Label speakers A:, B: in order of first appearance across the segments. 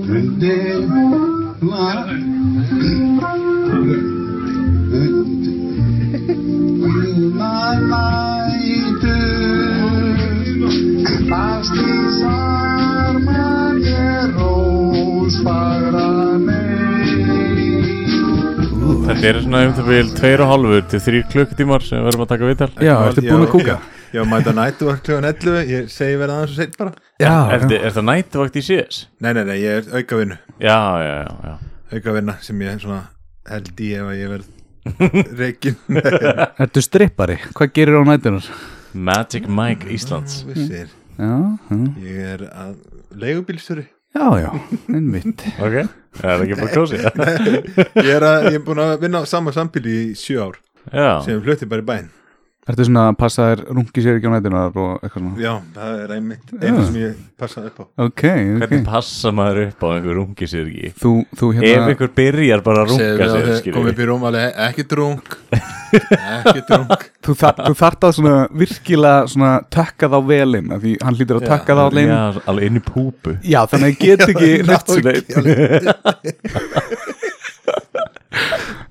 A: Önde var.
B: Þetta er svona um því vil 2,5 til 3 klukkutímar sem við verðum að taka viðtal
C: Já, ertu búin að kúka?
D: Já, já, mæta nættuvakt kljóðan 11 Ég segi verða aðeins og seitt bara
C: Já,
B: Er,
C: já.
B: þi- er það nættvakt í CS?
D: Nei, nei, nei, ég er aukavinnu
B: Já, já, já, já.
D: Aukavinna sem ég svona held í ef að ég verð reikin Nei,
C: ertu strippari? Hvað gerir á nætunar?
B: Magic Mike Íslands
D: vissir
C: Já, já,
D: Ég er að leigubílstjóri
C: já, já, einmitt
B: Ok, það er ekki bara kósi
D: Ég er að, ég er búin að vinna á sama sambíli í sjö ár
B: Já,
D: sem ég flutti bara í bæinn
C: Ertu svona að passa þér rungi sér ekki á nætunar og eitthvað svona?
D: Já, það er einmitt einu
C: Já.
D: sem ég passaði upp á
C: Ok, ok
B: hvernig passa maður upp á einhver rungi sér ekki?
C: Þú, þú
B: Ef
C: hérna,
B: einhver byrjar bara að runga
D: Segðu
B: sér,
D: við að
B: skilur
D: komið upp í rúm alveg ekki drung ekki drung
C: þú, þar, þú þart að svona virkilega svona tökka þá velin af því hann hlýtur að
D: Já,
C: tökka þá
B: við
C: velin
B: Já, alveg inn í púpu
C: Já, þannig að ég get ekki rétt sér neitt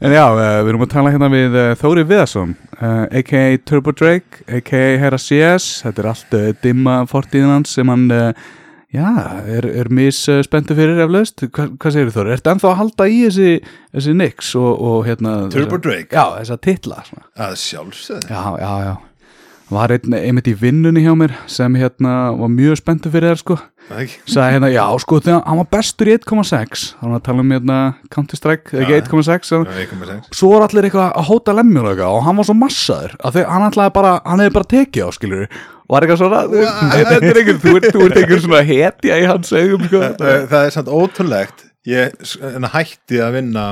C: En já, uh, við erum að tala hérna við uh, Þóri Viðarsson, uh, a.k.a. Turbo Drake, a.k.a. Hera CS, þetta er allt uh, dimma fortíðin hans sem hann, uh, já, er, er mis uh, spenntu fyrir eflaust. Hva, hvað segir Þóri? Ertu ennþá að halda í þessi, þessi Nix og, og hérna...
D: Turbo
C: þessa-
D: Drake?
C: Já, þessa titla, svona.
D: að sjálfsögðu
C: Já, já, já. Var einn eh, einmitt í vinnunni hjá mér sem hérna var mjög spenntu fyrir þér, sko
D: Það ekki?
C: sagði hérna, já sko, þegar hann var bestur í 1,6 hann var að tala um hérna Counter Strike, ekki 1,6
D: Já,
C: en-
D: ég kom að segja.
C: svo var allir eitthvað að hóta lemjur og, eitthvað, og hann var svo massaður að þau, hann ætlaði bara, hann hefði bara tekið á skilur og var eitthvað svona "Nei, þetta er einhver, þú ert, þú ert einhver svona hetja í hans eigum sko.
D: Það er- það er samt ótrúlegt ég s- en hætti að vinna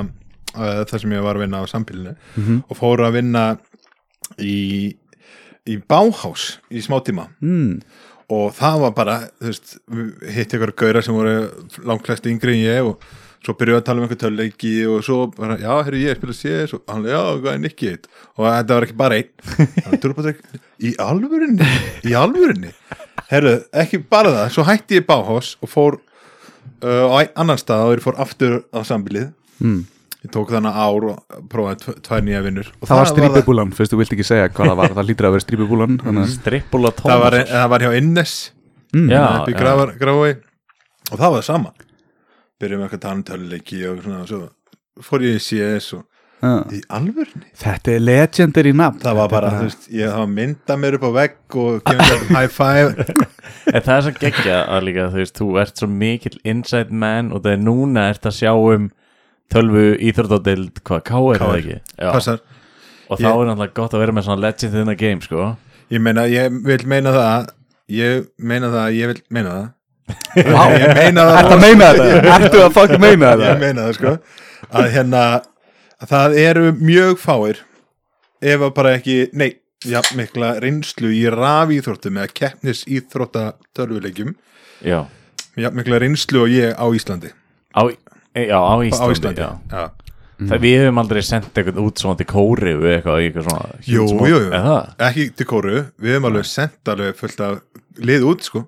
D: uh, það sem ég var að vinna á sambílinu og fór að vinna í, í Báhás í smá tíma
C: Mm.
D: og það var bara þú veist, við hitti ykkur gauðra sem voru langklæst yngri en ég og svo byrjuðu að tala um einhver töluleiki og svo bara, já, herri, ég spila CS og hann, já, hvað er Nicky eitt og þetta var ekki bara einn Hann, Turbotech, í alvörinni, í alvörinni herru, ekki bara það svo hætti ég Báhás og fór uh, á ein- annan stað og ég fór aftur á sambilið
C: Mm.
D: ég tók þannig ár og prófaði tv- tvær nýja vinnur og
C: það var strípibúlan, fyrst þú vilt ekki segja hvað það var það lítur að vera strípibúlan þannig að
B: Strippula
D: það var,
B: Thomas
D: það var hjá Innes
B: Já,
D: upp í
B: já.
D: grafar, grafói og það var það sama byrjum við eitthvað tannutöluleiki og svona svo fór ég í CS og
C: já.
D: í alvörni
C: þetta er legendary nafn
D: það var bara, þú veist, ég það var mynda mér upp á vegg og kemur þetta high five
B: En það er svo geggja að líka þú veist, þú ert svo mikill inside man og það er núna ert að sjá um tölvu íþróttadeild, hvað, K.R. eða
D: KR.
B: ekki? Já,
D: passar,
B: og þá
D: Ég-
B: er náttúrulega gott að vera með svona legend in the game, sko
D: ég meina, ég vil meina það ég meina það, ég vil meina það
C: wow.
D: ég meina það,
C: Ertu að meina þetta? Ertu að fucking meina þetta?
D: ég meina það sko að hérna, að það eru mjög fáir ef að bara ekki, nei, já, mikla reynslu í rafíþróttum eða keppnis íþrótta tölvuleikjum
B: Já,
D: Já, mikla reynslu og ég á Íslandi
B: á, e, já, á Íslandi,
D: Á Íslandi,
B: já.
D: já
B: Það, Við höfum aldrei sendt eitthvað út svona til kóri við eitthvað, í eitthvað svona
D: Jú,
B: smá-
D: jú, jú,
B: Er það?
D: ekki til kóru Við höfum alveg sendt alveg fullt af lið út, sko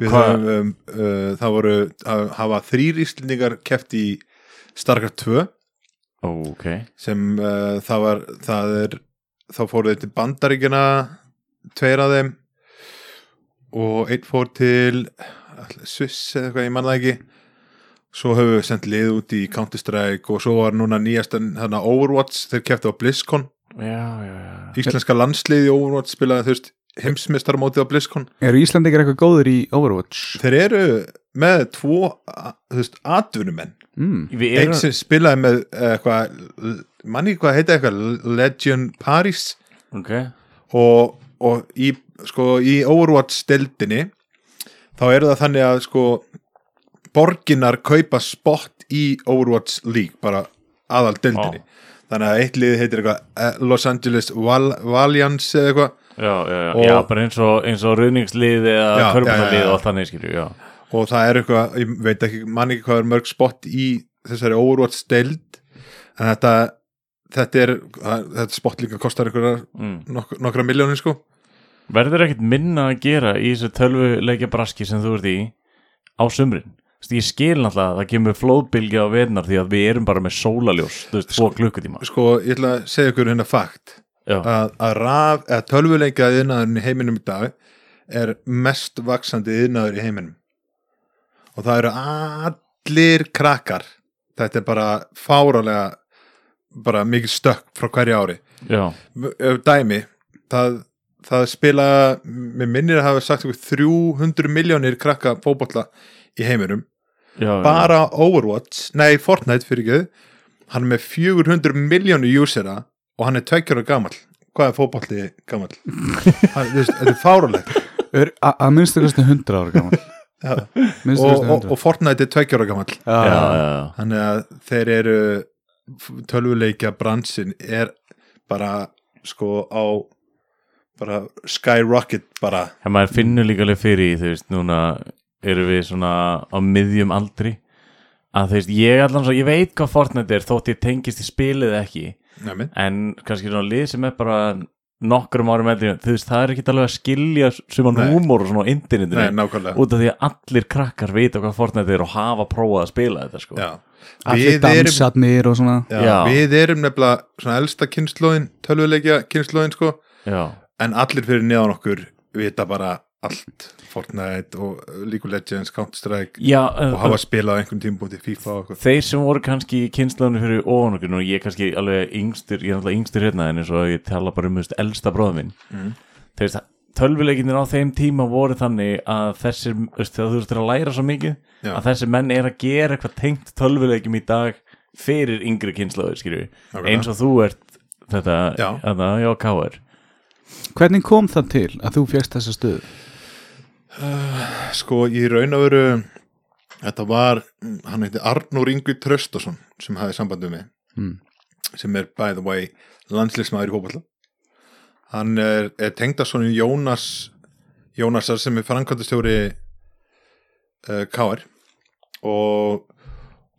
D: Við
B: Hvað-
D: höfum, um, uh, það voru að hafa þrýr Íslendingar keft í Starcraft 2
B: Ó, Ok,
D: sem uh, það var, það er þá fóru þeir til Bandaríkjana tveir af þeim og einn fór til ætli, Sviss eða eitthvað, ég man það ekki svo höfum við sendt lið út í Counter-Strike og svo var núna nýjast þarna Overwatch, þeir keftu á BlizzCon
B: já, já, já
D: Íslenska landsliði í Overwatch spilaði þú veist heimsmeistarmótið á BlizzCon
C: Eru Íslandingar eitthvað góður í Overwatch?
D: þeir eru með tvo a- þú veist, atvinnumenn
C: Mm.
B: Við
D: einn
B: erum,
D: sem spilaði með eh, eitthvað, manni hvað heita eitthvað Legion Paris
B: ok
D: og, og í, sko, í Overwatch deildinni þá eru það þannig að sko borginar kaupa spott í Overwatch League bara aðal deildinni
B: Vá.
D: þannig að eitt lið heitir eitthvað eh, Los Angeles Val Valiants eða eitthvað
B: Já, já, já,
D: Og-
B: já bara eins og, eins og ruðningslið eða
D: Já, já, já,
B: körbunarlið
D: já.
B: og allt þannig skilju, já
D: og það er eitthvað, ég veit ekki mann ekki hvað er mörg spott í þessari Overwatch deild en þetta þetta er, það- þetta spott líka kostar einhverjar
B: mm.
D: nok nokkra miljónir sko
B: Verður ekkert minna að gera í þessu tölvuleikja braski sem þú ert í á sumrin þú veist, ég skil náttúrulega að það kemur flóðbylgja á verðnar því að við erum bara með sólaljós þú veist, tvo klukkutíma
D: sko, ég ætla að segja ykkur hérna fakt
B: já,
D: að, að raf, eða tölvuleika yðnaðurinn í heiminum í dag er mest vaksandi yðnaður í heiminum og það eru allir krakkar þetta er bara fáralega bara mikið stökk frá hverju ári
B: já,
D: Ö, dæmi það, það spila, mér minnir að hafa sagt ykkur 300 miljónir krakka fótbolla í heiminum
B: já
D: bara Overwatch, nei Fortnite fyrir ekki hann er með 400 miljónu usera og hann er tveggjóra gamall hvað er fótbolti gamall hann, þú veist, þetta er fárulegt
C: Er- a- að minnstu kosti 100 ára gaman
D: ja.
C: minnstu
D: og,
C: kosti
D: og,
C: 100
D: og Fortnite er tveggjóra gamall
B: já, já,
C: já,
B: já.
D: þannig að þeir eru tölvuleikja bransin er bara sko á bara skyrocket bara
B: en maður finnur líka alveg fyrir því, þú veist, núna erum við svona á miðjum aldri að þú veist, ég allan svo, ég veit hvað Fortnite er þótt ég tengist í spilið ekki
D: Næmi.
B: en kannski svona lið sem er bara nokkrum árum eldri, þú veist, það er ekki alveg að skilja suman
D: Nei.
B: húmor og svona á internetinu
D: Nei, nákvæmlega
B: út af því að allir krakkar vita hvað Fortnite er og hafa prófað að spila þetta sko.
D: Já.
C: allir
D: Við erum-
C: dansarnir og svona
D: Já,
B: Já.
D: Við erum nefnilega svona elsta kynnslóðin, tölvuleikja kynnslóðin sko,
B: Já.
D: en allir fyrir neðan okkur vita bara allt, Fortnite og League of Legends, Counter-Strike
B: Já,
D: og
B: uh,
D: hafa spilað á einhvern tímpúti, FIFA og okkur.
B: þeir sem voru kannski kynnslunni fyrir ofan okkur og ég kannski alveg yngstur, ég er alltaf yngstur hérna en eins og ég tala bara um þú veist, elsta bróða minn
D: Mm.
B: þeir veist tölvuleikinir á þeim tíma voru þannig að þessir, þú veist, þegar þú veist að læra svo mikið
D: Já.
B: að þessir menn er að gera eitthvað tengt tölvuleikum í dag fyrir yngri kynnslóður, skilju
D: Nákvæmlega.
B: eins og þú ert þetta,
D: Já.
B: þetta, já, káar
C: hvernig kom það til að þú fjast þessa stöðu
D: Sko, ég raun að veru, þetta var, mm, hann heiti Arnur Ingi Tröstason sem hafði samband við mig,
C: Mm.
D: sem er by the way landslismæður í hópalla. Hann er, er tengdasonu Jónas, Jónasar sem er framkvæmdastjóri uh, KR og,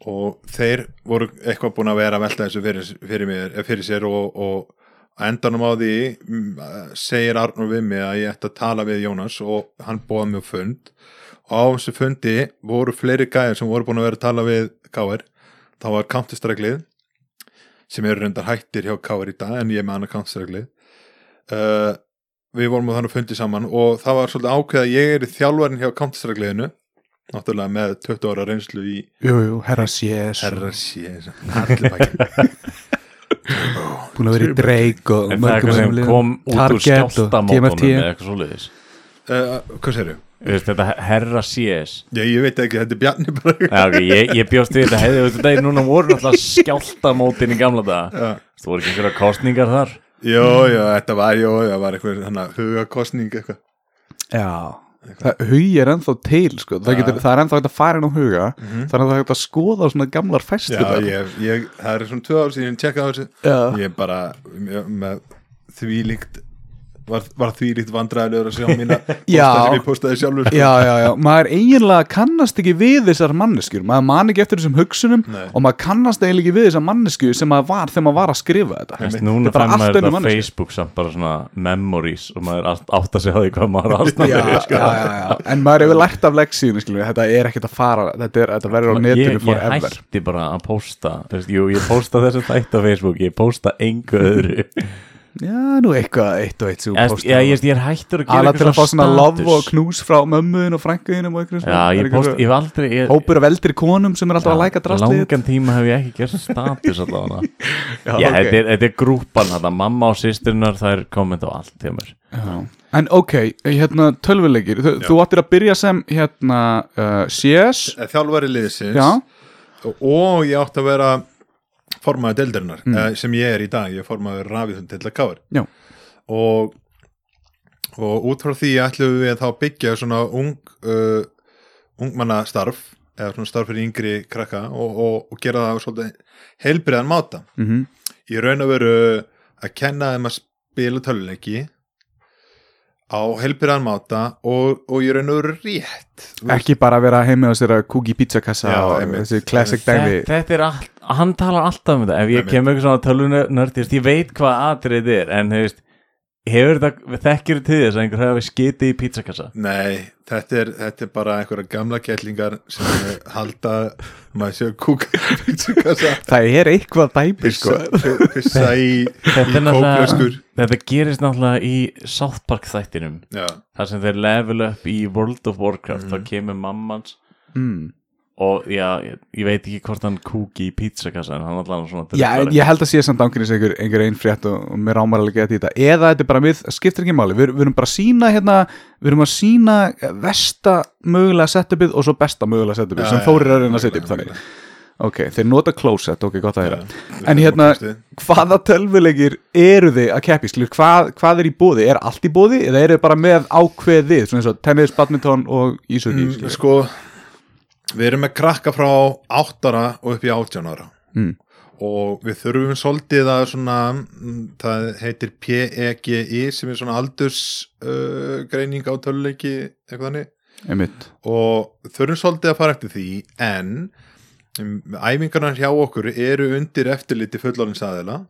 D: og þeir voru eitthvað búin að vera að velta þessu fyrir, fyrir, mér, eh, fyrir sér og, og á endanum á því mm, eh, segir Arnur við mig að ég ætti að tala við Jónas og hann bóða mig á fund og á þessu fundi voru fleiri gæðir sem voru búin að vera að tala við KR þá var kamptistræklið sem eru reyndar hættir hjá KR í dag en ég er með annað kamptistræklið uh, við vorum á þannig fundi saman og það var svolítið ákveð að ég er þjálfarinn hjá kamptistrækliðinu náttúrulega með 20 ára reynslu í
C: jú, jú, herra sér
D: Herra sé, allir bakið
C: búin að vera í dreik og
B: en það er
C: mörgum
B: eitthvað sem
C: öðrum liðum.
B: kom út úr
C: Target og
B: skjálftamótunum
C: TMRT.
B: eða eitthvað svoleiðis
D: uh, Hvað segirðu?
B: Þú veist, þetta herra CS
D: Já, ég veit ekki, þetta er Bjarni bara
B: Já, ok, ég, ég bjóst við þetta hefði þú veist, þetta er núna voru alltaf skjálftamótin í gamla daga
D: Já.
B: Þú voru ekki einhverja kostningar þar
D: Jó, jó, þetta var, jó, það var eitthvað hana, hugakostning eitthvað
C: Já, það, hugi er ennþá til sko. það, getur, það er ennþá hægt að fara inn á huga
B: Mhm.
C: það er ennþá hægt að skoða svona gamlar
D: Já,
C: festur
D: ég, ég, það er svona tvö ár síðan ég tjekka á þessu
C: Sko, Já.
D: Ég bara, með, með þvílíkt var, var þvílíkt vandræðilegur að sjá mína posta
C: Já.
D: sem ég postaði sjálfur sko.
C: já, já, já, maður eiginlega kannast ekki við þessar manneskjur, maður man ekki eftir þessum hugsunum
D: Nei.
C: og maður kannast eiginlega ekki við þessar manneskju sem maður var þegar maður var að skrifa þetta
B: Þess,
C: Þetta
B: Núna
C: er bara
B: fann
C: allt
B: maður
C: önnur
B: þetta á
C: manneskja.
B: Facebook samt bara svona memories og maður allt átt að segja því hvað maður
C: Já,
B: aðstæður
C: já, já, já, en maður hefur lært af leksíðinu skilur, þetta er ekkert að fara þetta, er, þetta verður á netinu
B: Sko, Ég, ég
C: forever
B: hætti bara að posta þú veist, Jú, ég posta þessu þætt á Facebook Ég posta engu öðru
C: Já, nú eitthvað, eitt og eitt sem
B: Ég,
C: þú
B: ég,
C: postar.
B: ég, ég er hættur að gera
C: Alveg til að fá svona love og
B: status.
C: knús frá mömmuðin og frænkuðinum og eitthvað
B: Já,
C: svona.
B: ég
C: Er eitthvað
B: posta,
C: svo-
B: ég hef aldrei ég,
C: hópur af eldri konum sem er alltaf að læka drastlið
B: langan tíma hef ég ekki gert status allavega
C: Já,
B: já,
C: ok.
B: þetta, er, þetta er grúpan þetta, mamma og sýsturnar það er komment á allt hjá mér
C: en ok, hérna tölvuleikir þú, þú áttir að byrja sem hérna uh, CS
D: Eh, Þjálfari liðsins
C: já,
D: og ég átti að vera formaður deildarinnar mm. sem ég er í dag, ég er formaður rafið til að káður
C: já,
D: og, og út frá því ætlum við þá að byggja svona ung, uh, ungmanna starf eða svona starf fyrir yngri krakka og, og, og gera það á svolítið heilbriðan máta.
C: mm
D: Ég raun að veru að kenna þeim að spila töluleiki á heilbriðan máta og, og ég raun að veru rétt. Þú veist,
C: ekki bara að vera heimi á sér að kúki pizzakassa
D: Já,
C: og
D: einmitt.
C: þessi classic dæmi
B: þetta, þetta er allt, hann talar alltaf um þetta ef ég
D: Einmitt.
B: kem eitthvað svona tölvunörd ég veit hvað atrið er en þú veist hefur þetta, þekkir til þess að einhver hafi skitið í pizzakassa
D: Nei, þetta er, þetta er bara einhverja gamla gætlingar sem eh, halda maður séu kúka í pizzakassa
C: Það er eitthvað dæmi sko
D: pissa, pissa í,
B: þetta,
D: í
B: er
D: kóklöskur
B: náttúrulega- þetta gerist náttúrulega í South Park þættinum
D: Já,
B: þar sem þeir level up í World of Warcraft
C: Mhm.
B: þá kemur mammans
C: mm.
B: og já, ég, ég veit ekki hvort hann kúki í pizzakassa en hann allan svona
C: Já, en ég held að sé samt ángrins einhver, einhver einn frétt og, og mér ámar alveg að þetta eða þetta er bara við, skiptir ekki máli við, við erum bara að sína hérna, við erum að sína versta mögulega setupið og svo besta mögulega setupið
D: Já,
C: sem
D: já,
C: Þórir er að reyna að
D: nákvæmlega,
C: setja upp þannig Ok, þeir nota closet, ok, gott að heyra
D: Já,
C: En
D: þeir
C: hérna,
D: nota closetið.
C: hvaða tölvulegir eru þið að keppi, skilur, hvað, hvað er í bóði er allt í bóði eða eru þið bara með ákveðið svona eins og tennis, badminton og ísöki,
D: Mm,
C: skilur
D: sko við erum með krakka frá 8 ára og upp í 18 ára
C: Mm.
D: og við þurfum svolítið að svona, mm, það heitir PEGI sem er svona aldursgreining uh, greining á töluleiki eitthvað þannig
C: einmitt,
D: og þurfum svolítið að fara eftir því en um, æfingarnar hjá okkur eru undir eftirliti fullorins aðila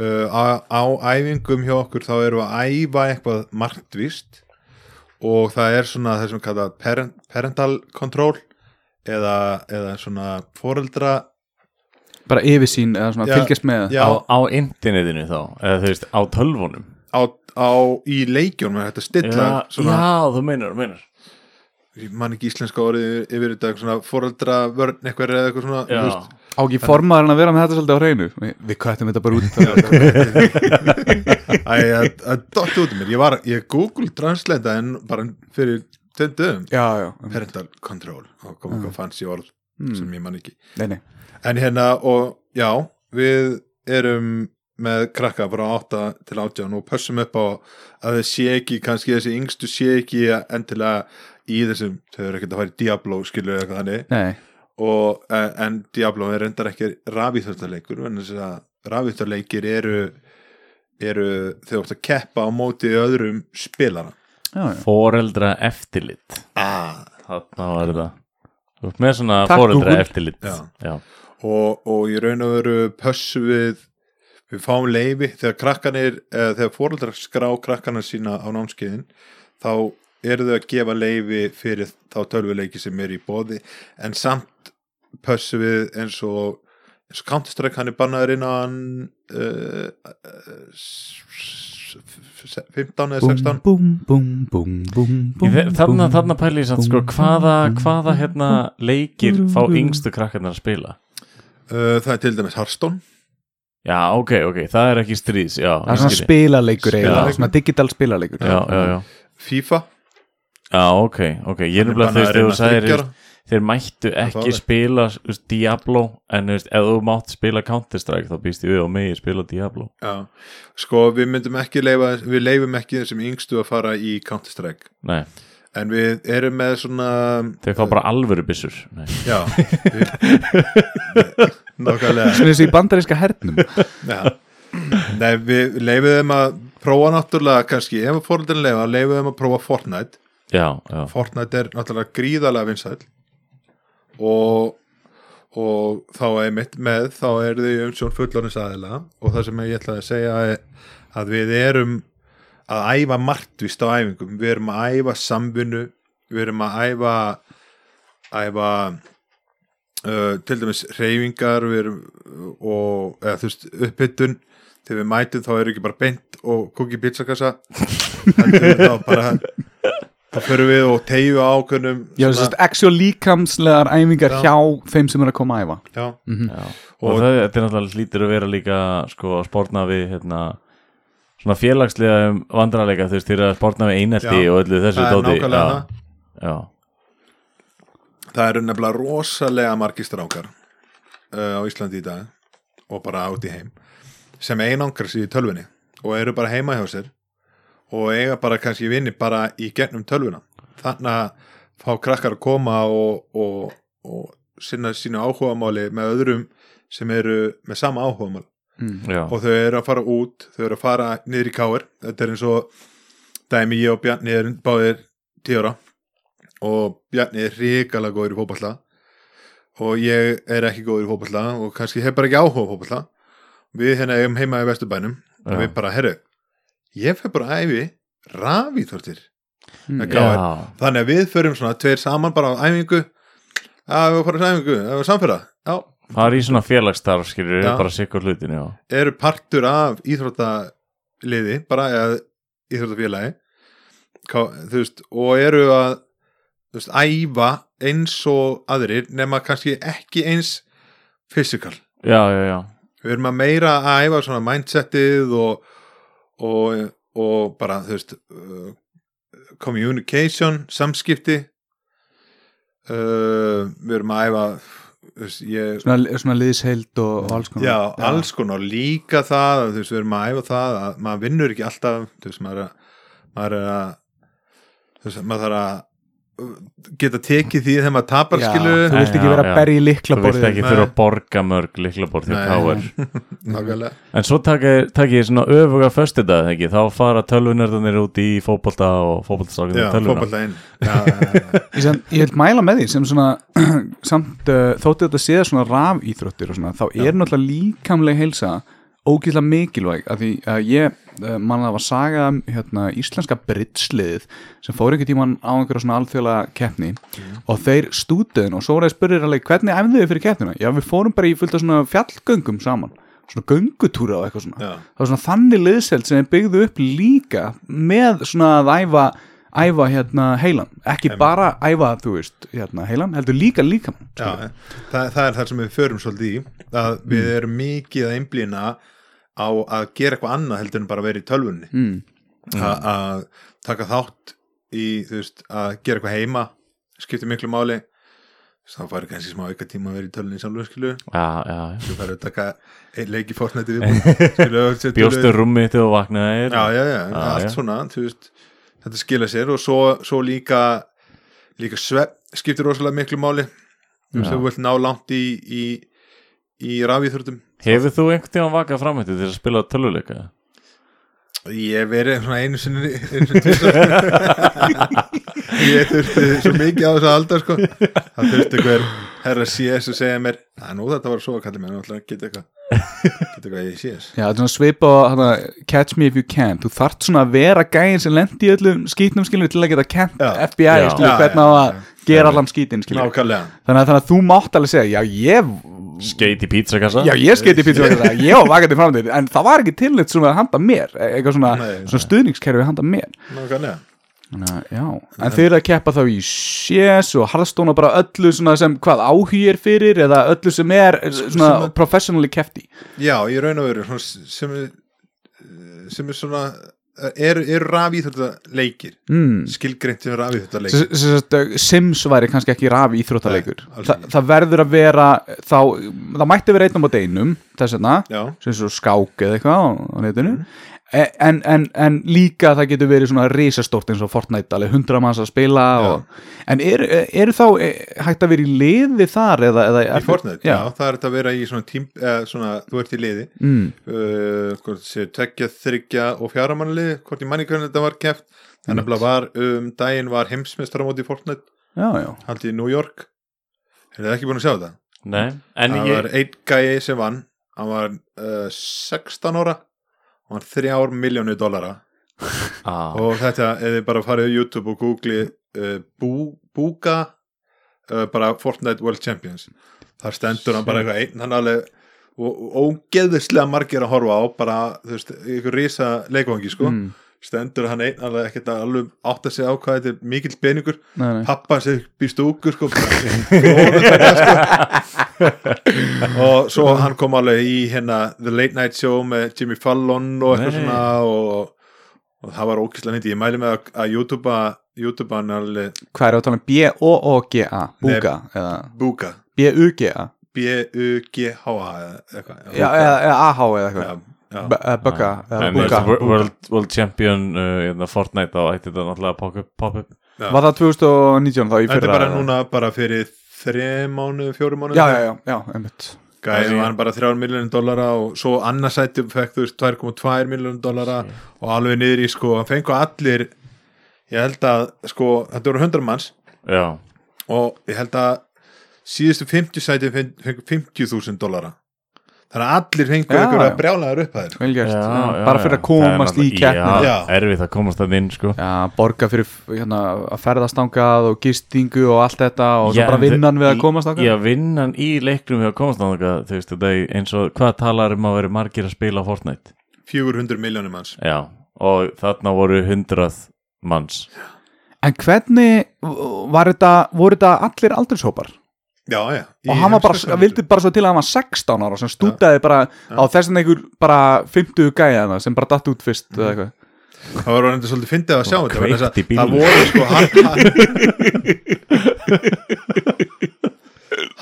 D: uh, á, á æfingum hjá okkur þá eru að æfa eitthvað marktvist og það er svona það sem kallað parent, parental control eða, eða svona foreldra
C: bara yfirsýn eða svona
D: Já,
C: fylgjast með
D: já,
B: á,
D: á,
B: á internetinu þá, eða þú veist á tölvunum
D: á, í leikjónum er hægt að stilla
B: já,
D: svona,
B: já, þú meinar, þú meinar
D: ég man ekki íslenska orðið yfir, yfir þetta svona foreldra vörn eitthvað eða eitthvað svona þú
B: já,
D: veist.
C: á ekki formaðurinn að vera með þetta svolítið á hreinu við, við kvættum þetta bara út
D: Æ, að- að dotti út um mér Ég var, ég Google Translate en bara fyrir töndum
C: já, já, Hmm. einmitt.
D: Parental Control og kom
B: Mm.
D: eitthvað fancy orð sem ég man ekki
C: nei, nei
D: En hérna og já, við erum með krakka bara 8 til 18 og pössum upp á að þið sé ekki, kannski þessi yngstu sé ekki endilega í þessum þau eru ekkert að fara í Diablo skilur eða eitthvað þannig
C: Nei,
D: og, eh, en Diablo er reyndar ekki rafíþjóttarleikur en þess að rafíþjóttarleikir eru, eru þau átt að keppa á móti öðrum spilara
C: já, já.
B: foreldra eftirlit
D: ah.
B: þarna var þetta Þú ert með svona
C: Takk,
B: foreldra
C: Google.
B: eftirlit
D: Já.
B: Já.
D: og, og í raun og veru pössu við við fáum leifi þegar krakkanir eða þegar fóreldrar skrá krakkana sína á námskeiðin þá eru þau að gefa leifi fyrir þá tölvuleiki sem er í bóði en samt pössu við eins og eins og Counter-Strike hann er bannaður innan uh, uh, s- s- s- 15 eða 16
C: búm, búm, búm, búm,
B: Ég
C: búm
B: þe- Þarna,
C: búm.
B: þarna pæli ég samt sko hvaða, hvaða hérna leikir fá yngstu krakkarnar að spila
D: uh, það er til dæmis Hearthstone
B: Já, ok, ok, það er ekki stríðs Já,
C: Það er
B: ég
C: svona
B: skil.
C: spilaleikur eiginlega,
B: Spilaleikur.
C: svona digital spilaleikur
B: já, já, já.
D: FIFA
B: já, ok, ok Ég er nefnilega þú veist, þegar þú sagðir þú veist, Þeir mættu
D: fáránlegt.
B: ekki spila þú veist, Diablo En þú veist, ef þú mátt spila Counter-Strike Þá býst ég við og mig að spila Diablo
D: Já, sko við myndum ekki leifa, við leifum ekki þessum yngstu að fara í Counter-Strike
B: Nei,
D: en við erum með svona
B: þau fá bara alvöru byssur Nei.
D: já við, nokkalega
C: Svona eins og í bandaríska hernum
D: já. Nei, við leifum þeim að prófa náttúrulega kannski, ef að fórhaldin leifa leifum þeim að prófa Fortnite
B: Já, já,
D: Fortnite er náttúrulega gríðalega vinsæl og og þá er mitt með þá er þau umsjón fullorins aðila og það sem ég ætlaði að segja er að við erum að æfa martvist á æfingum, við erum að æfa samvinnu, við erum að æfa æfa uh, til dæmis reyfingar við erum og eða þú veist upphittun þegar við mætum þá eru ekki bara beint og kúki pizzakassa heldur þá bara þá förum við og tegju ákveðnum
C: Já,
D: svona-
C: þess að actual líkamslegar æfingar
D: Já.
C: hjá þeim sem er að koma að æfa
D: já,
B: já. Og, það, þetta er náttúrulega lítur að vera líka sko, að spórna við hérna, svona félagslega vandraleika þú veist, þeir eru að spórna við einelti
D: Já,
B: og öllu þessu
D: það er
B: dóti
D: nákvæmlega
B: já,
D: það.
B: já,
D: Það eru nefnilega rosalega margir strákar uh, á Íslandi í dag og bara át í heim sem einangra sig í tölvunni og eru bara heima hjá sér og eiga bara kannski vinni bara í gegnum tölvuna þannig að fá krakkar að koma og, og, og sinna sínu áhugamáli með öðrum sem eru með sama áhugamál
B: já.
D: og þau eru að fara út, þau eru að fara niður í káir, þetta er eins og dæmi ég og Bjarni er báðir tíora og Bjarni er ríkala góður í fótballa og ég er ekki góður í fótballa og kannski hef bara ekki áhuga á fótballa við hérna eigum heima í Vesturbænum og
B: Já.
D: við bara, herru ég fer bara að æfi rafíþortir
C: Mm.
D: Já,
B: Já,
D: þannig að við förum svona tveir saman bara á æfingu að við farum æfingu, að við samferða já,
B: fara í svona félagsstarf skilur
D: Já.
B: bara sikkur hlutin, já
D: eru partur af íþróttaliði bara eða íþróttafélagi Ká- þú veist, og eru að þú veist, æfa eins og aðrir nema kannski ekki eins fysikal
B: Já, já, já,
D: við erum að meira að æfa svona mindsetið og, og, og bara þú veist uh, communication, samskipti uh, við erum að æfa þú veist, ég,
C: svona, svona liðsheild og, og alls konar
D: já, alls konar líka það að, þú veist, við erum að æfa það að maður vinnur ekki alltaf þú veist, maður er að, maður er að þú veist, maður þarf að uh, geta tekið því þegar maður tapar
C: Já,
D: skilu
C: þú vilt ekki
B: Já,
C: vera
B: já.
C: að berja í
B: þú vilt
C: liklaborðið
B: ekki
D: Nei.
B: þurfa að borga mörg líklaborð
D: Nei.
B: til káir
D: nákvæmlega
B: En svo takk ég svona öfuga föstudag, eða ekki, þá fara tölvunörðanir út í fótbolta og fótboltastákinni
D: já,
C: um
B: tölvuna
D: fótballtæðin já, já, já, já.
C: Ég sem, ég vil mæla með því sem svona samt uh, þóttu þetta séða svona rafíþróttir og svona, þá er náttúrulega líkamleg heilsa ógíslega mikilvæg af því að ég uh, manna það var saga um, hérna, íslenska brittsliðið sem fór einhvern tíman á einhverja svona alþjóðlega keppni og þeir stúdun og svo voru að spurði alveg hvernig æfðu þau fyrir keppnina já við fórum bara í fullt af svona fjallgöngum saman svona göngutúra og eitthvað svona
D: Já.
C: það var svona þannig liðselt sem þeir byggðu upp líka með svona að æfa æfa hérna heilan ekki bara æfa þú veist hérna heilan heldur líka líka
D: Já, það, það er það sem við förum svolítið í að við
C: Mm.
D: erum mikið að einblýna á að gera eitthvað annað heldur en bara að vera í tölvunni mm. að taka þátt í þú veist, að gera eitthvað heima skiptir miklu máli þá færi kannski smá auka tíma að vera í tölvunni sjálfur skilu,
B: Já, já, já
D: þú færi að taka einn leik í fortnætti við skilu,
B: Bjóstu rúmið til þú vaknaðir
D: já, já, já,
B: Já,
D: allt
B: Ah, já.
D: svona þú veist, þetta skila sér og svo, svo líka líka svepp skiptir rosalega miklu máli þú veist,
B: Já.
D: þú vilt ná langt í í, í rafíþurðum
B: Hefur þú einhvern tímann vakað framhættu til að spila tölvuleika?
D: ég hef verið svona einu sinni, einu sinni tvisvar. sko. ég þurfti svo mikið á þess að halda sko. það þurfti hver herra CS og segja mér að nú þetta var svo að kalla mér nú ætla að geta eitthvað geta eitthvað í CS
C: Já, þetta er svona svipa á hana, catch me if you can þú þart svona að vera gæðin sem lendi í öllum skýtnum skilur til að geta kent
D: Já.
C: FBI
B: Já.
C: skilur
D: Já,
C: hvernig á
D: já, já,
C: að gera allan skýtin skilur þannig,
D: nákvæmlega
C: að, þannig að þú mátt alveg segja já ég,
B: Skeit í pizzakassa?
C: já, ég skeiti pítsu ég var vakandi framtíð en það var ekki tillit svona að handa mér e- eitthvað svona,
D: Nei,
C: svona stuðningskerfi að handa mér
D: nákvæmlega
C: Þannig að, já, en þeir eru að keppa þá í CS og harðstóna bara öllu svona sem hvað áhugi er fyrir eða öllu sem er eh, svona
D: Sem að-
C: professionally keppt í
D: Já, í raun og veru svona sem, sem er svona eru er rafið þetta leikir mm. skilgreint sem rafið þetta
C: Hmm. S-
D: leikir
C: s- s- s- Sims væri kannski ekki rafi íþróttaleikur
D: Nei, alls
C: Þa,
D: ekki.
C: það verður að vera þá, það mætti vera einnum á deinum þess vegna,
D: Já,
C: sem svo skák eða eitthvað á, á netinu
D: Mhm.
C: E- en, en, en líka það getur verið svona risastórt eins og Fortnite, alveg hundra manns að spila og, en eru er þá eh, hægt að vera í liði þar eða, eða,
D: í Fortnite, já.
C: já,
D: það er þetta að vera í svona tím, eða, svona, þú ert í liði
C: Mm.
D: uh, hvort sé, tekja, þryggja og fjáramannliði, hvort ég manni hvernig þetta var keft þannig að var, um daginn var heimsmestramóti í Fortnite,
C: já, já.
D: haldið í New York er það ekki búin að sjá þetta?
B: Nei, en
D: það
B: ég
D: var einn gæi sem vann hann var uh, 16 ára hann var 3 ár miljónu dollara
B: ah,
D: og þetta, ef þið bara farið á YouTube og googli uh, bú, búka uh, bara Fortnite World Champions þar stendur hann bara eitthvað einn hann alveg og og ógeðislega margir að horfa á bara, þú veist, ykkur risa leikvangi sko,
C: Mm.
D: stendur hann einn alveg ekkert að alveg átta sig á hvað þetta er mikill peningur,
C: Nei, nei.
D: pappa sér býr stúkur sko, bara, sko. og svo hann kom alveg í hérna The Late Night Show með Jimmy Fallon og eitthvað
B: Nei.
D: svona og, og það var ókislega hindi, ég mæli með að, að YouTube YouTube hann alveg
C: hvað er það að tala um B-O-O-G-A búga, eða
D: Buga
C: B-U-G-A
D: B-U-G-H-A eða eitthvað
C: já, eða, eða A-H eða
D: já,
C: eitthvað
D: já.
C: B- eða Bugga, eða
B: en
C: búga
B: þessi wor- World, World Champion uh, hérna, Fortnite þá ætti þetta náttúrulega að pop-up pop up.
D: Já.
C: var það 2019 þá í
D: þetta
C: fyrra
D: er bara
C: eða?
D: núna bara fyrir þrem mánu, fjórum mánu
C: já, já, já, já, einmitt
D: Gæði var hann bara 3 miljonum dollara og svo annarsætti fekk þú veist 2,2 miljonum dollara og alveg niður í sko, hann fengu allir ég held að sko, þetta voru 100 manns
B: Já,
D: og ég held að síðustu 50 sæti fengu 50.000 dollara þannig að allir fengur
C: Já,
D: ykkur
C: já.
D: að brjála þær upp að þér
C: Vel gert,
B: Já, já,
C: bara
B: já. Það
C: fyrir að
B: er
C: komast í
B: náttúrulega-
C: keppni
B: já,
D: Já.
B: erfitt að komast að inn sko.
C: Já, borga fyrir hérna, að ferðastangað og gistingu og allt þetta og svo
B: Já,
C: bara
B: en þau-
C: vinnan við að
B: í-
C: komast þangað
B: Já, vinnan í leiknum við að komast þangað þú veist, þetta er eins og hvað talar um að vera margir að spila Fortnite
D: 400 miljónum manns
B: Já, og þarna voru hundrað manns
C: En hvernig var þetta, voru þetta allir aldurshópar?
D: já, já, í
C: og hann var bara,
D: heimsmeistaramótinu.
C: vildi bara svo til að hann var 16 ára sem stútaði bara á þessan einhver bara 50 gæðana sem bara datt út fyrst eða eitthvað
D: það var reyndið svolítið fyndið að sjá þetta vegna þess
B: kveikt í
D: að
B: bílnum.
D: það voru sko hann, hann,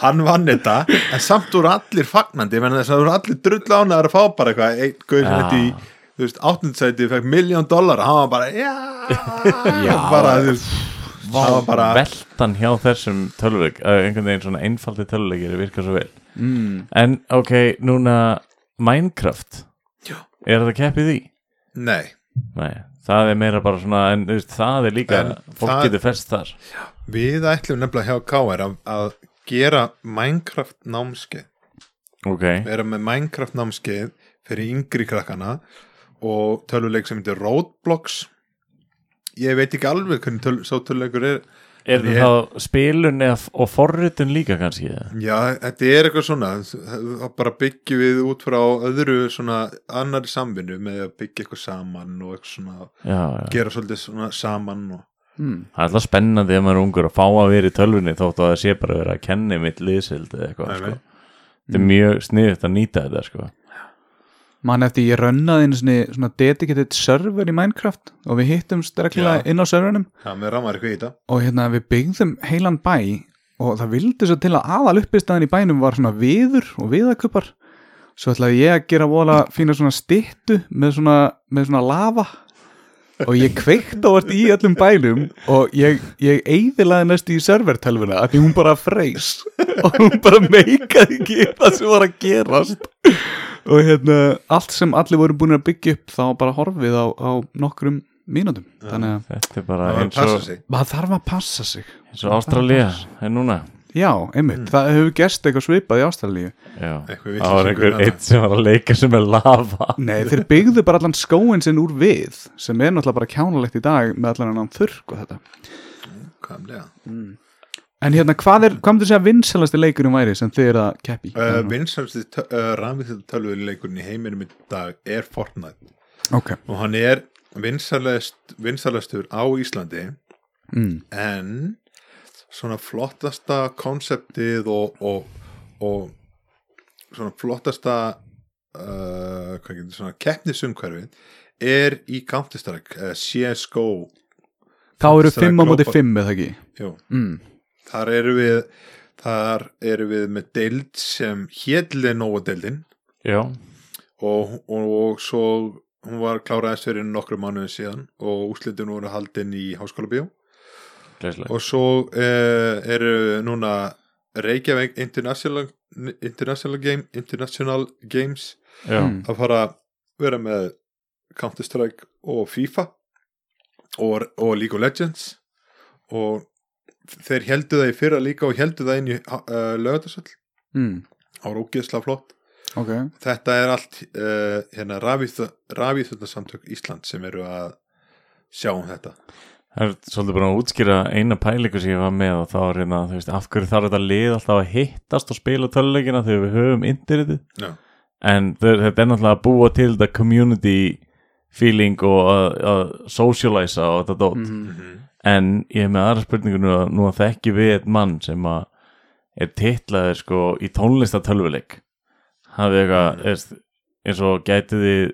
D: hann vann þetta en samt voru allir fagnandi vegna þess að það voru allir drull ánæðar að fá bara eitthvað einn gauð sem
B: Já.
D: þetta í þú veist, áttundsæti fekk miljón dólar hann var bara, já,
B: Já.
D: bara þú veist, það var bara
B: veltan hjá þessum töluleik eh, einhvern veginn svona einfaldi töluleikir virka svo vel mm. en ok, núna Minecraft
D: Já.
B: er þetta keppið í?
D: nei,
B: Nei, það er meira bara svona en þú veist, það er líka,
D: En
B: fólk
D: það-
B: getur fest þar
D: við ætlum nefnilega hjá KR að, að gera Minecraft námskeið
B: ok,
D: Við erum með Minecraft námskeið fyrir yngri krakkana og töluleik sem heitir Roadblocks ég veit ekki alveg hvernig töl, svo töluleikur er
B: er
D: Ég-
B: þetta þá spilun eða, og forritun líka kannski eða?
D: já, þetta er eitthvað svona það bara byggjum við út frá öðru svona annari samvinnu með að byggja eitthvað saman og eitthvað svona
B: já, já
D: gera svolítið svona saman og
C: hmm.
B: Það er alltaf spennandi ef maður er ungur að fá að vera í tölvunni þótt að það sé bara að vera að kenni mitt liðsild eða eitthvað
D: Nei,
B: sko.
D: nei.
B: Þetta er mjög sniðut að nýta þetta sko.
C: Man eftir ég rönnaði einu sinni svona dedicated server í Minecraft og við hittumst reglulega
D: Já.
C: inn á servernum
D: það með ramar eitthvað í þetta
C: og hérna við byggðum heilan bæ og það vildi svo til að aðal uppistæðan í bænum var svona viður og viðakupar svo ætlaði ég að gera vola fína svona styttu með svona, með svona lava og ég kveikt ávart í öllum bænum og ég, ég eiðilaði næstu í servertelfuna af því hún bara freys og hún bara meikaði ekki það sem var að gerast og hérna allt sem allir voru búin að byggja upp þá bara horfið á, á nokkrum mínútum þannig að
B: Þetta er bara
D: það var að
B: eins
D: passa
B: og,
D: sig
C: maður þarf að passa sig
B: eins og Ástralía en núna
C: Já, einmitt, það hefur gerst eitthvað svipað í ástæðalíu
B: Já.
D: Eitthvað
B: Það var
D: vitleysingur
B: einhver
D: þarna.
B: eitt sem var að leika sem er lava
C: Nei, þeir byggðu bara allan skóin sinn úr við sem er náttúrulega bara kjánalegt í dag með allan annan þurrk og þetta
D: Kamlega.
C: En hérna, hvað er, hvað myndir segja vinsalasti leikurum væri sem þið eru að keppi?
D: Uh,
B: Mhm.
D: vinsælsti uh, ramið þetta töluleikurinn í heiminum í dag er Fortnite
C: ok,
D: og hann er vinsalest, vinsalastur á Íslandi
C: mm.
D: en svona flottasta konseptið og, og, og svona flottasta uh, hvað getur svona keppnisumhverfið er í Counter-Strike uh, CSGO
C: þá eru
D: Counter-Strike
C: fimm á móti
D: Global.
C: fimm eða ekki
D: Jú,
C: mm.
D: þar eru við þar eru við með deild sem hét Lenovo deildin
B: Já,
D: og, og, og svo hún var kláraðist fyrir nokkrum mánuðin síðan og úslitin voru haldin í Háskóla Bíó
B: glæslega
D: og svo uh, eru núna Reykjavík International, International, Game, International Games
B: Já,
C: Mm.
D: að fara að vera með Counter-Strike og FIFA og, og League of Legends og þeir heldu það í fyrra líka og heldu það inn í uh, lögatarsöll
C: Mm.
D: á Rókiðsla flott
C: Ok,
D: þetta er allt uh, hérna rafíþjóðnasamtök Ísland sem eru að sjá um þetta
B: Það er svolítið bara að útskýra eina pælingu sem ég var með og þá er hérna, þú veist, af hverju þarf þetta lið alltaf að hittast og spila töluleikina þegar við höfum internetið
D: Já.
B: en þau- þetta er náttúrulega að búa til þetta community feeling og að, að socialize og þetta dót
C: Mhm. Mm-hmm.
B: en ég hef með aðra spurningu nú að, nú að þekki við einn mann sem að er titlaðir sko í tónlistatölvuleik hafið eitthvað mm. eins og gætið þið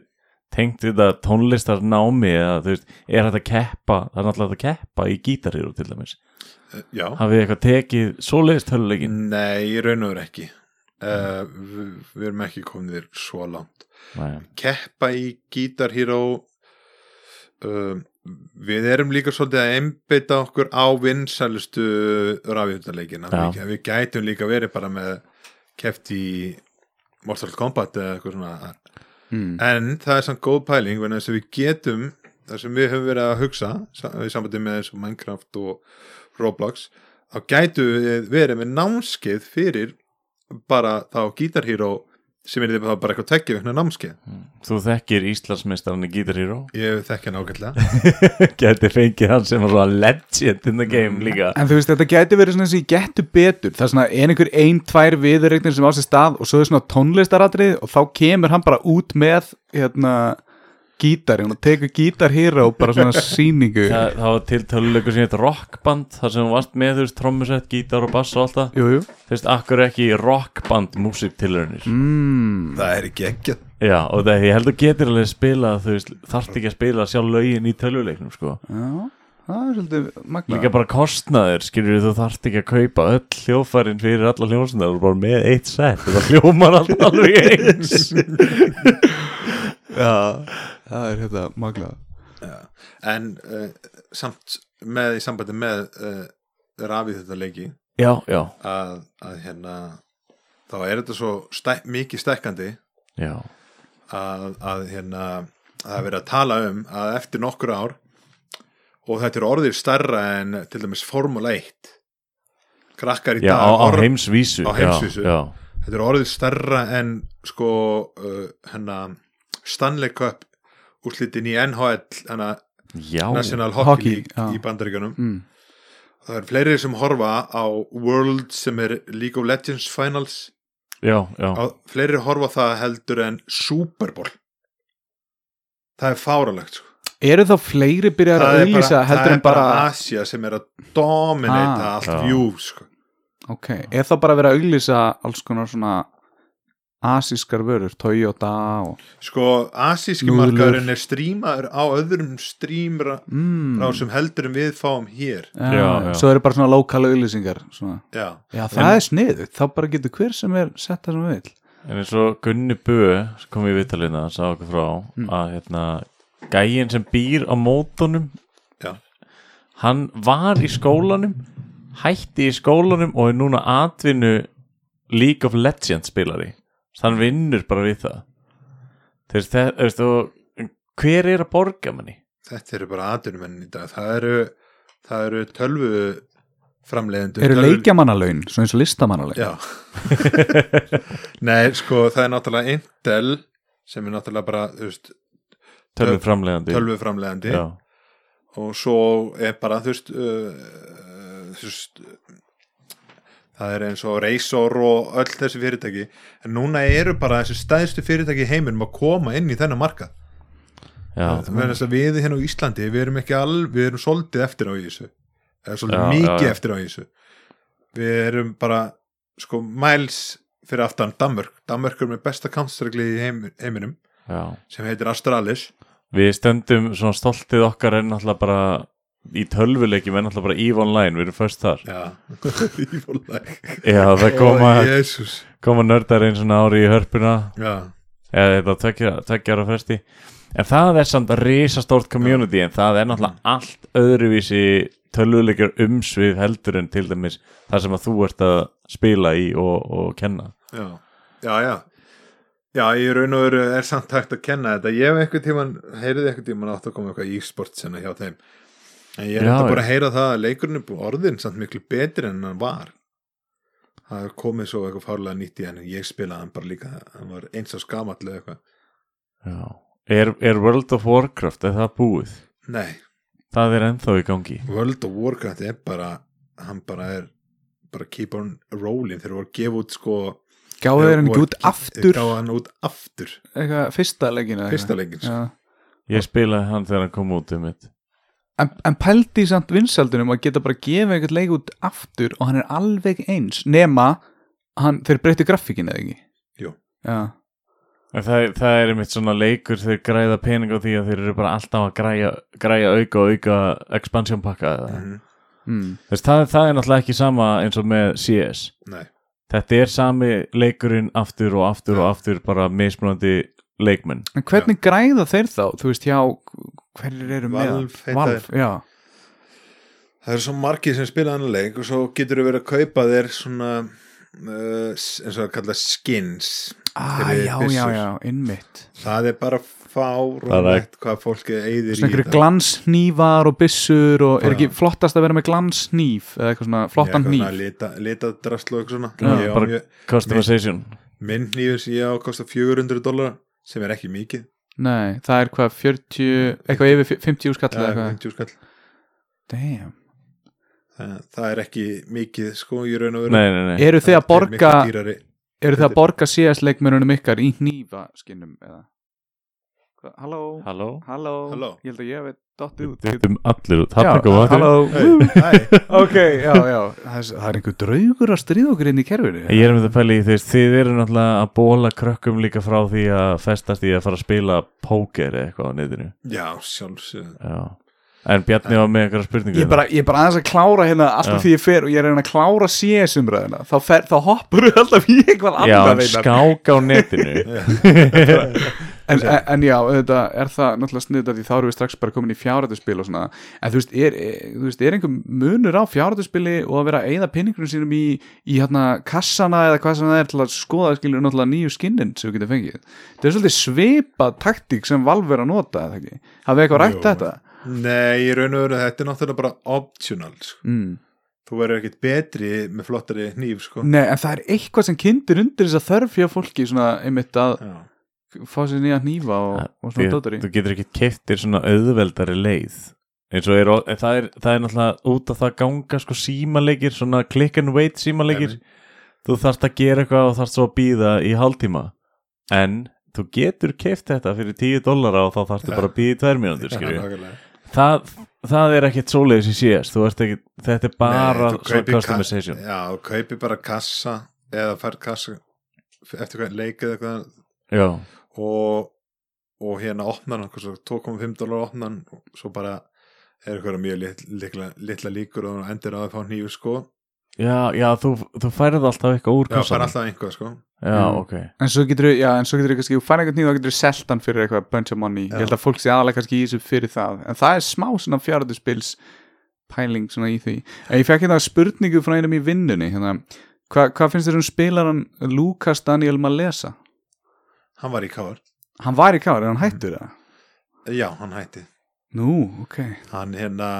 B: tengt við þetta tónlistarnámi eða þú veist, er þetta að keppa það er náttúrulega hægt að keppa í gítarhýru til dæmis
D: uh, já,
B: hafið þið eitthvað tekið svoleiðist
D: Mm.
B: töluleikin
D: nei, í raun og veru ekki uh, við, við erum ekki kominir svo langt
B: mm.
D: keppa í Guitar Hero um, við erum líka svolítið að einbytta okkur á vinsælustu rafíþjóðnaleikina
B: Já.
D: við, við gætum líka verið bara með keft í Mortal Kombat eða eitthvað svona
C: mm.
D: En það er samt góð pæling vegna þess að við getum, það sem við höfum verið að hugsa sa- í sambandi með eins og Minecraft og Roblox þá gætu við verið með námskeið fyrir bara þá Guitar Hero sem er þetta bara eitthvað tekja vegna námskeið
B: Þú þekkir Íslandsmeistarinn í Guitar Hero
D: ég þekki hann ágætlega
B: Gæti fengið hann sem var svona legend in the
D: Mm.
B: game líka
C: En þú veist, þetta gæti verið svona eins og ég getur betur Það er svona ein einhver ein, tvær viðurregnir sem á sér stað og svo er svona tónlistaratrið og þá kemur hann bara út með hérna gítarinn og tekur gítarhýra og bara svona sýningu
B: Þa, Það var til töluleikur sem heit rockband þar sem hún varst með þú veist trommusett, gítar og bass og allt það
C: Jú, jú
B: Þú veist, akkur ekki rockband músiktilraunir
C: mm.
D: það er ekki ekki
B: Já, og það ég held að þú getur alveg spila þú veist, þarft ekki að spila sjálf lögin í töluleiknum sko
C: Já, það er svolítið magna
B: Líka bara kostnaður, skilur þú þarft ekki að kaupa öll hljófærin fyrir alla hljómsundar bara með eitt set, það hljómar alltaf alveg eins
C: Já, það er hérna magna
D: en uh, samt með í sambandi með uh, rafið þetta leiki
B: Já, já,
D: að, að hérna þá er þetta svo stæk, mikið stækkandi
B: já
D: að, að hérna að það er verið að tala um að eftir nokkur ár og þetta er orðið stærra en til dæmis Formule 1 krakkar í
B: Já,
D: dag
B: á, á
D: orð-
B: heimsvísu
D: á heimsvísu.
B: já, já.
D: þetta er orðið stærra en sko uh, hennar Stanley Cup úrslitin í NHL hennar
B: Já,
D: hérna, National Hockey
C: Hockey,
D: League
C: já.
D: í bandaríkjunum
C: mm.
D: það er fleiri sem horfa á World sem er League of Legends Finals
B: já, já,
D: á, fleiri horfa á það heldur en Super Bowl það er fáralegt sko.
C: Eru þá fleiri byrjar að
D: það er
C: auðlýsa
D: bara, það
C: heldur
D: er
C: en bara,
D: Asia sem er að dominata
C: Ah,
D: allt
B: já.
D: vjú sko.
C: Ok, er þá bara að vera að auðlýsa alls konar svona asískar vörur, Toyota og
D: sko asíski
C: Núðlur.
D: markaðurinn er strímaður á öðrum strímra
C: mm.
D: sem heldur en við fáum hér
C: já,
B: Já, já.
C: Svo eru bara svona lokala auðlýsingar svona.
D: já,
C: Já, það er sniðu, þá bara getur hver sem er sett það sem við vil
B: En eins og Gunni Bö kom í vitalina og sá okkur frá að hérna, gæin sem býr á mótunum
D: já.
B: hann var í skólanum hætti í skólanum og er núna atvinnu League of Legends spilari Þess, hann vinnur bara við það þeir þe- þú veist og hver er að borga manni?
D: þetta eru bara atvinnumennin í dag það eru, það eru tölvu framleiðendur
C: Eru
D: tölvu-
C: leikjamannalaun, svona eins og listamannalaun
D: Já Nei, sko, það er náttúrulega Intel sem er náttúrulega bara þú veist,
B: tölvu framlegandi
D: tölvuframlegandi
B: Já.
D: og svo er bara þú veist, uh, þú veist það er eins og Razor og öll þessi fyrirtæki en núna eru bara þessi stæðstu fyrirtæki í heiminum að koma inn í þennan markað
B: Já.
D: Vegna þess að við hérna á Íslandi við erum ekki all, við erum soldið eftir á í þessu eða soldið
B: Já,
D: mikið
B: já, já.
D: eftir á í þessu við erum bara sko miles fyrir aftan Danmörk Danmörk er með besta kampstregli í heim, heiminum
B: Já.
D: sem heitir Astralis
B: við stöndum svona stoltið okkar er náttúrulega bara í tölvuleikjum er náttúrulega bara EVE Online við erum först þar
D: já,
B: Já, það koma,
D: Ó, Jesus.
B: koma nördar einn svona ári í hörpuna
D: já,
B: eða þetta tveggja tveggja ára fresti en það er samt risastórt community en það er náttúrulega allt öðruvísi tölvuleikjar umsvið heldur en til dæmis það sem að þú ert að spila í og, og kenna
D: já, já, já já, ég raun og veru er samt hægt að kenna þetta ég hef einhvern tíman, heyrði einhvern tíman átt að koma eitthvað e-sport sinna hjá þeim en ég er
B: Já,
D: þetta
B: já.
D: bara að heyra það að leikurinn er búið orðin samt miklu betri en hann var það er komið svo eitthvað fárlega nýtt í hann ég spilaði hann bara líka, hann var eins og skamallu eitthvað,
B: Já. er, er World of Warcraft er það búið?
D: nei
B: Það er ennþá í gangi
D: World of Warcraft er bara hann bara er bara keep on rolling þegar voru að gefa út sko
C: Gáðu þeir henni
D: voru-
C: ekki út aftur
D: gáfu hann út aftur
C: eitthvað, Fyrsta leikina
D: fyrsta leikin sko.
B: Ég spilaði hann þegar hann kom út um mitt
C: En, en pældi í samt vinsaldunum að geta bara að gefa einhvern leik út aftur og hann er alveg eins nema hann, þeir breyttu grafíkin eða ekki
D: Jú.
C: Já,
B: En það, það er einmitt svona leikur þeir græða pening á því að þeir eru bara alltaf að græja, græja auka og auka expansion pakka eða
D: Mhm.
C: mm.
B: Þess, það, það er náttúrulega ekki sama eins og með CS
D: nei,
B: Þetta er sami leikurinn aftur og aftur og aftur bara mismunandi leikmenn.
C: En hvernig græða þeir þá? Þú veist, já, hverjir eru með
D: Valve heita
C: Valve, já
D: það eru svo margir sem spila hann leik og svo getur þau verið að kaupa þér svona uh, s- eins og að kalla skins
C: ah,
D: Fyrir
C: Já, já,
D: byssur.
C: já, innmitt
D: það er bara
B: Það er-
D: fáránlegt hvað fólkið eyðir
C: Svona einhverju
D: þetta.
C: glansnývar og byssur og er
D: Já.
C: ekki flottast að vera með glansnýf eða eitthvað svona flottan
D: Ég er
C: nýf
D: eitthvað svona lita- Litadrasl og eitthvað svona
B: Já,
D: Ég á
B: bara
D: mjög-
B: customization.
D: minn hnífur sem ég á kostar 400 dólar sem er ekki mikið
C: Nei, það er hvað 40, eitthvað yfir 50 skall eða
D: það, er
C: eitthvað
D: 50 skall.
C: Damn.
D: það, það er ekki mikið sko í raun og veru
B: Nei, nei, nei
C: Eru þið að
D: Það er miklu
C: borga
D: dýrari.
C: Eru þið að
D: Þetta-
C: borga CS leikmörunum ykkar í hnífa skinnum eða? Hva- Halló,
B: Halló
C: halló,
D: Halló.
C: ég held að ég hef dottið út
B: Við erum allir út
C: Já,
B: Þarna kom allir
C: halló,
D: Hey, hæ,
C: ok, já, já Það er, það er einhver draugur að stríða okkur inn í kerfinu
B: Ég er með það pæli í því Þið eru náttúrulega að bóla krökkum líka frá því að festast í að fara að spila póker eða eitthvað á neyðinu
D: já, sjálfsög
B: En Bjarni var með eitthvað spurningu hérna.
C: Ég er bara, ég er bara aðeins að klára hérna alltaf
B: Já.
C: því ég fer og ég er að reyna að klára CS umræðina þá, fer, þá hoppur við alltaf í eitthvað
B: Já,
C: annað
B: en
C: Einar.
B: skák á netinu
C: en, en, en já, þetta er það náttúrulega sniðt að því þá erum við strax bara komin í fjárhættuspil og svona, en þú veist, er, er, þú veist, er einhver munur á fjárhættuspili og að vera að eyða pinningunum sínum í, í hérna, kassana eða hvað sem það er til að skoða skilur náttúrulega nýju skinnin sem við getum fengið þetta er svolítið svipa taktík sem Valve er að nota, eða ekki, hafið eitthvað rætt
D: Jú.
C: þetta?
D: nei, í raun og veru þetta er náttúrulega bara optional sko.
C: Mm.
D: þú verður ekkit betri með flottari hníf sko.
C: Nei, en það er eitthvað sem kindir undir þess að þörf hjá fólki svona einmitt að
D: já,
C: fá sér nýja hnífa og, og svona
B: Því-
C: dótari
B: Þú getur ekki keftir svona auðveldari leið eins og er, en það, er, það er náttúrulega út að það ganga sko símaleikir svona click and wait símaleikir þú þarft að gera eitthvað og þarft svo að býða í hálftíma en þú getur keft þetta fyrir 10 dollara og þá þarftu bara að býða í tvær mínútur skilju
D: nákvæmlega.
B: það, það er ekkit svoleiðis í síðast þú ert ekki, þetta er bara
D: Nei, þú
B: svona
D: kaupir ka-
B: customization
D: já, þú kaupir bara kassa eða fær kassa eftir hvað leikið eitthvað
B: já,
D: og, og hérna opnar hann eitthvað svo 2,5 dólar opnar hann og svo bara er eitthvað mjög lit, litla, litla líkur og hann endur á að fá nýju sko
B: já, já þú, þú færið alltaf eitthvað úr
D: já, fær
B: kassanum.
D: alltaf einhvað
B: já,
D: sko
C: Mm.
B: ok
C: En svo getur þú, já, en svo getur þú kannski, þú fær eitthvað nýð og getur þú selt hann fyrir eitthvað bunch of money. Ég held að fólk sé aðalega kannski í þessu fyrir það. En það er smá svona fjárhunduspils pæling svona í því. En ég fekk hérna spurningu frá einum í vinnunni, hérna, hva, hvað finnst þér um spilaran Lukas Daniel Malesa?
D: hann var í káar,
C: Hann var í káður, en hann hættur það?
D: já, hann hætti
C: Nú, ok.
D: hann hérna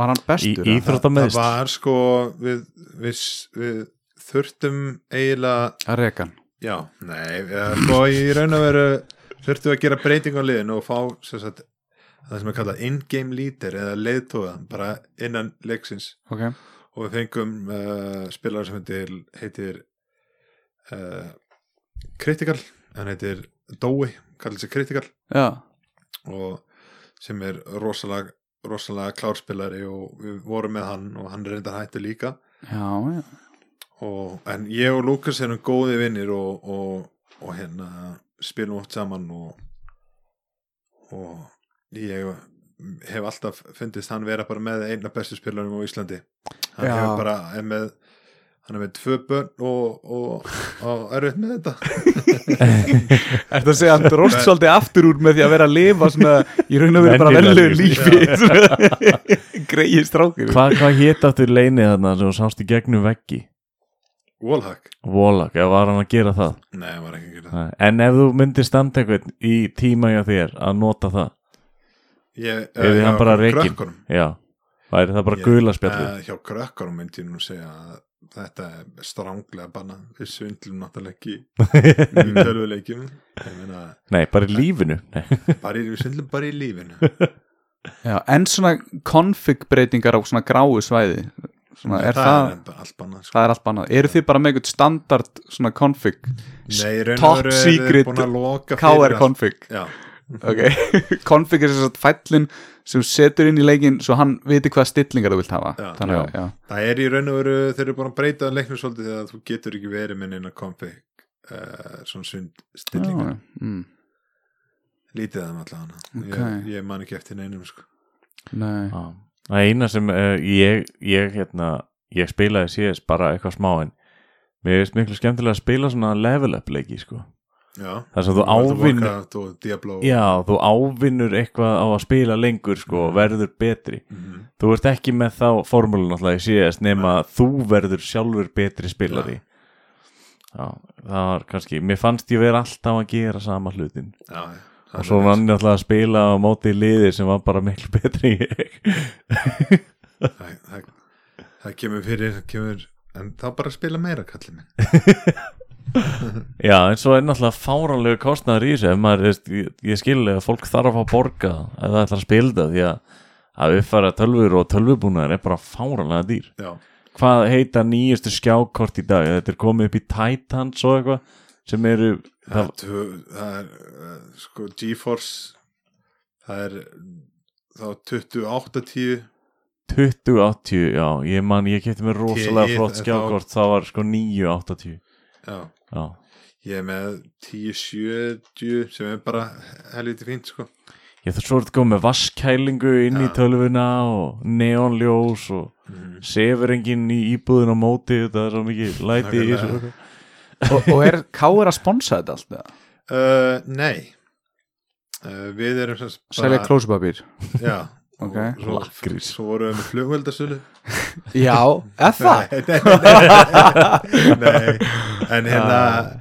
C: Var hann
B: í
C: bestur? eða?
D: það
B: íþróttameðist
D: var sko við, við, við þurftum eiginlega
C: Að reka hann.
D: Já, nei, eh, sko í raun og veru þurftum við að gera breyting á liðinu og fá sem sagt, það sem er kallað in-game leader eða leiðtóða bara innan leiksins
C: Ok.
D: og við fengum uh, spilar sem heitir, heitir uh, Critical hann heitir Dói, kallar sér Critical
C: Já.
D: og sem er rosalega, rosalega klárspilari og við vorum með hann og hann reyndar hættu líka
C: Já, já.
D: og, en ég og Lukas erum góði vinnir og, og, og hérna spilum oft saman og, og ég hef alltaf fundist hann vera bara með einna bestu spilarum á Íslandi hann
C: Já.
D: hefur bara er með hann er með tvö börn og, og, og erfitt með þetta
C: Ertu að segja að hann dróst svolítið aftur úr með því að vera að lifa svona, ég raun og verið bara
B: Venjulegu
C: verðlegu lífi greiði strákur
B: Hva, hvað hétt áttur leinið þarna sem þú sást í gegnum veggi?
D: Wallhack,
B: Wallach, eða var hann að gera það?
D: nei, hann var ekki að gera það
B: Nei. En ef þú myndir standa einhvern í tíma hjá þér að nota það,
D: ég,
B: Yrði
D: eh,
B: hann
D: já,
B: bara rekinn?
D: krökkunum.
B: já, væri það bara
D: Ég-
B: gula spjallið?
D: Eh, hjá krökkarum myndi ég nú segja að þetta er stránglega banna við svindlum náttúrulega ekki í tölvuleikjum ég meina
B: Nei, bara í lífinu. Nei.
D: bara í, við svindlum bara í lífinu
C: Já, en svona config breytingar á svona gráu svæði svona, er það,
D: það er bara allt bannað sko.
C: það er allt bannað eru þið bara með eitthvað standard svona config
D: Nei, í raun og
C: top
D: veru eru þeir
C: secret
D: búin að loka fyrir
C: KR
D: allt.
C: config
D: Já,
C: ok, config er svona fællin sem setur inn í leikin svo hann viti hvaða stillingar þú vilt hafa
D: Já.
C: þannig að, já,
D: það er í raun og veru þeir eru búin að breyta leiknum svolítið þegar þú getur ekki verið með neina config uh, svona svund
C: já,
D: stillingar
C: já. Mm.
D: lítið að maður allavega
C: Ok.
D: ég, ég man ekki eftir neinum sko.
C: Nei.
B: Já. Það eina sem uh, ég, ég, hérna, ég spilaði síðast bara eitthvað smá en mér finnst miklu skemmtilega að spila svona level up leiki, sko.
D: Já,
B: Það sem þú ávinnur,
D: Warcraft og Diablo
B: já, þú ávinnur eitthvað á að spila lengur, sko, og verður betri.
D: Mhm.
B: Þú ert ekki með þá formúlun alltaf í síðast nema að þú verður sjálfur betri spilari Já, það var kannski Mér fannst ég vera alltaf að gera sama hlutin
D: já, já, það
B: og
D: er
B: svo
D: alveg-
B: var hann alltaf að spila á móti liði sem var bara miklu betri en ég
D: það, það, það kemur fyrir það kemur, en þá bara spila meira kallið minn
B: Já, en svo er náttúrulega fáranlega kostnaður í þessu ef maður, veist, ég, ég skilja að fólk þarf að fá borga ef það ætlar að spila þetta því að að uppfæra tölvur og tölvubúnaður er bara fáranlega dýr
D: já,
B: Hvað heita nýjustu skjákort í dag? Þetta er komið upp í Titans og eitthvað sem eru
D: það,
B: það,
D: tvö, það er uh, sko GeForce það er þá 2810
B: 2080, já, ég man, ég kefti mér rosalega
D: Ég-
B: flott
D: þá-
B: skjákort, það var sko 980,
D: já,
B: já
D: ég er með 1070 sem er bara helviti fínt sko
B: Ég þarf svo að koma með vaskælingu inn í
D: Já. Mm.
B: tölvuna og neonljós og sefur enginn í íbúðin á móti þetta er svo mikið læti í þessu
D: Nákvæmlega.
C: og, og er Káir að sponsa þetta allt eða?
D: uh, nei uh, við erum sem sagt
C: selja klósupapír
D: já
C: Ok.
D: og svo,
B: Lakrís.
D: svo vorum við með flugveldasölu
C: já, eða það
D: nei, nei, nei, nei. en hérna
C: Ah.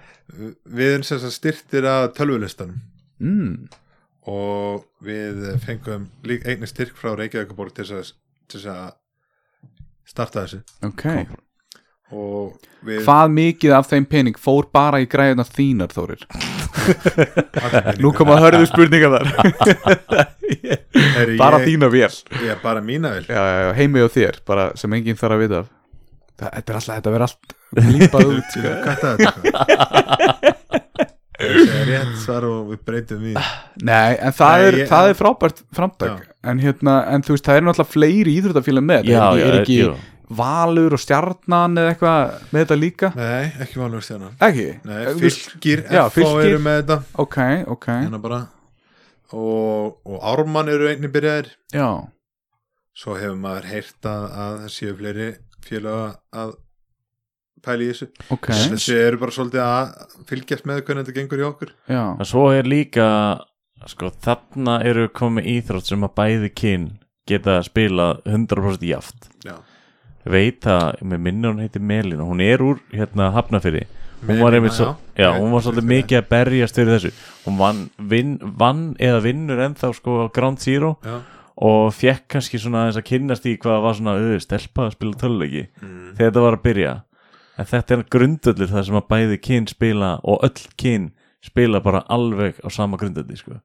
D: við erum sem sagt styrtir að tölvulistanum
C: mm.
D: og við fengum líka einnig styrk frá Reykjavíkaborg til þess að, til þess að starta þessu
C: ok,
D: og við
C: hvað mikið af þeim pening fór bara í græðuna þínar Þórir nú kom að hörðu spurninga þar
D: Heri,
C: bara
D: ég,
C: þína vél
D: ég, bara mína vel
C: já, já, já, heimi og þér, bara sem enginn þarf að vita af Þa- þetta er alltaf, þetta verður allt lípað út sko.
D: Katta þetta Það er rétt svar og við breytum í
C: Ah. nei, en það,
D: Nei,
C: er,
D: ég-
C: það er frábært framtak en, hérna, en þú veist, það eru náttúrulega fleiri íþrótafélag með þetta,
B: Já,
C: er ekki, er
B: já,
C: ekki
B: jú.
C: valur og stjarnan eða eitthvað með þetta líka
D: Nei, ekki vanlega stjarnan
C: ekki,
D: Nei,
C: Eh, þú veist,
D: fylgir,
C: Já,
D: FH
C: Fylkir.
D: eru með þetta
C: ok, ok
D: hérna bara og, og Ármann eru einnig byrjaðir
C: já,
D: svo hefur maður heyrt að, að það séu fleiri félaga að pæla í þessu
C: ok
D: þessu eru bara svolítið að fylgjast með hvernig þetta gengur í okkur
C: já,
B: En svo er líka sko, þarna eru komið íþrótt sem að bæði kyn geta að spila 100% jaft
D: já.
B: Ég veit að, með minni hún heiti Melin og hún er úr hérna hafnafyrri hún var
D: Melina,
B: einmitt svo, já,
D: já.
B: hún var svolítið mikið að berjast fyrir þessu hún vann, vin, vann eða vinnur ennþá sko á Ground Zero
D: Já.
B: og fekk kannski svona aðeins að kynnast í hvað var svona auðvist, stelpa að spila töluleiki
D: Mm.
B: þegar þetta var að byrja en þetta er grundöllir það sem að bæði kyn spila og öll kyn spila bara alveg á sama grundöldi sko.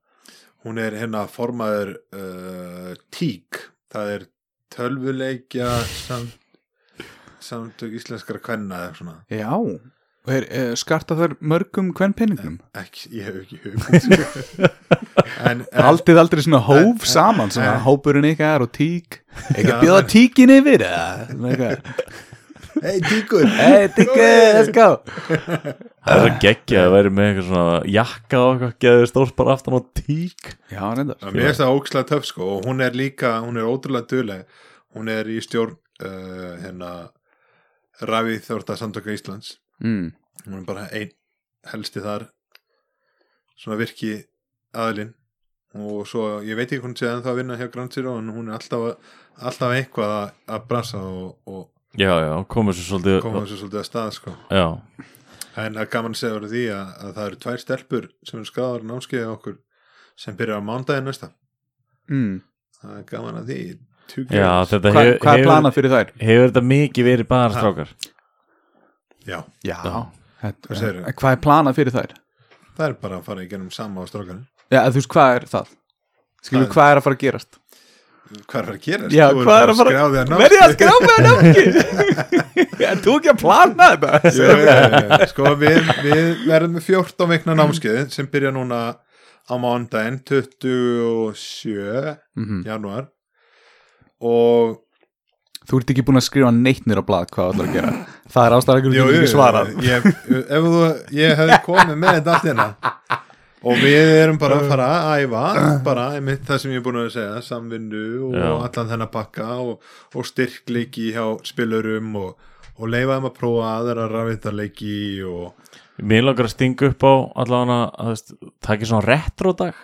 D: hún er hérna formaður uh, tík það er tölvuleikja sam, samtök íslenskara kvenna eða svona
C: já Og er, er, skarta þær mörgum hvern peningum
D: ekki, ég hef ekki hugmynd en, en
C: Haldið aldrei svona
D: en-
C: hóf saman svona
D: en-
C: hópurinn ykkar og tík ekki
D: Já.
C: að bjóða tíkin yfir eða? Svona eitthvað.
D: hei tíkur
C: Hey, tíki, let's go
B: það er svo geggja að vera með eitthvað svona jakka og eitthvað geður stórt bara aftan á tík
C: Já, reyndar
D: Já, Sko, mér finnst það ókslega töf sko og hún er líka, hún er ótrúlega duðleg hún er í stjórn uh, hérna rafið þjórta samtöku Íslands
C: mm.
D: hún er bara ein helsti þar svona virki aðlin og svo ég veit ekki hvernig sé ennþá að vinna hjá Grand Zero en hún er alltaf, alltaf eitthvað að, að brasa og, og
B: já, já, komið svo svolítið
D: koma þessu svolítið að stað sko.
B: já,
D: en að gaman að segja verið því að, að það eru tvær stelpur sem eru skráðar námskeiði okkur sem byrjar á mándaginn næsta
C: Mm.
D: það er gaman að því Two
B: já,
D: girls.
B: þetta
C: Hva,
B: hefur
C: Hvað er
B: hefur-
C: planað fyrir þær?
B: hefur þetta mikið verið bara strákar
D: Já,
C: Já, þetta,
D: Hvað segirðu?
C: en hvað er planað fyrir þær?
D: það er bara að fara í gennum sama á strákanum
C: Já, þú veist, hvað er það? Skilur,
D: Það-
C: hvað er að fara að gerast?
D: Hvað er að fara að gera?
C: Já, hvað er að fara
D: skráði að
C: Verðið að skráfa það námskið En þú ekki að plana þetta
D: námskeið Sko við, við verðum með 14
C: Mm.
D: vikna námskeið sem byrja núna á mándaginn 27
C: Mhm.
D: janúar og
C: Þú ert ekki búin að skrifa neitt nýra blað hvað allar að gera Það er ástæðan ekki ekki svarað
D: ég, ef þú, ég hefði komið með þetta allt hérna og við erum bara að fara að æfa bara einmitt það sem ég er búin að segja samvinnu og
B: Já.
D: allan þennan pakka og, og styrkleiki hjá spilurum og, og leifa þeim að prófa aðra rafittarleiki og
B: mér langar að stinga upp á allavega að þú veist, taki svona retro dag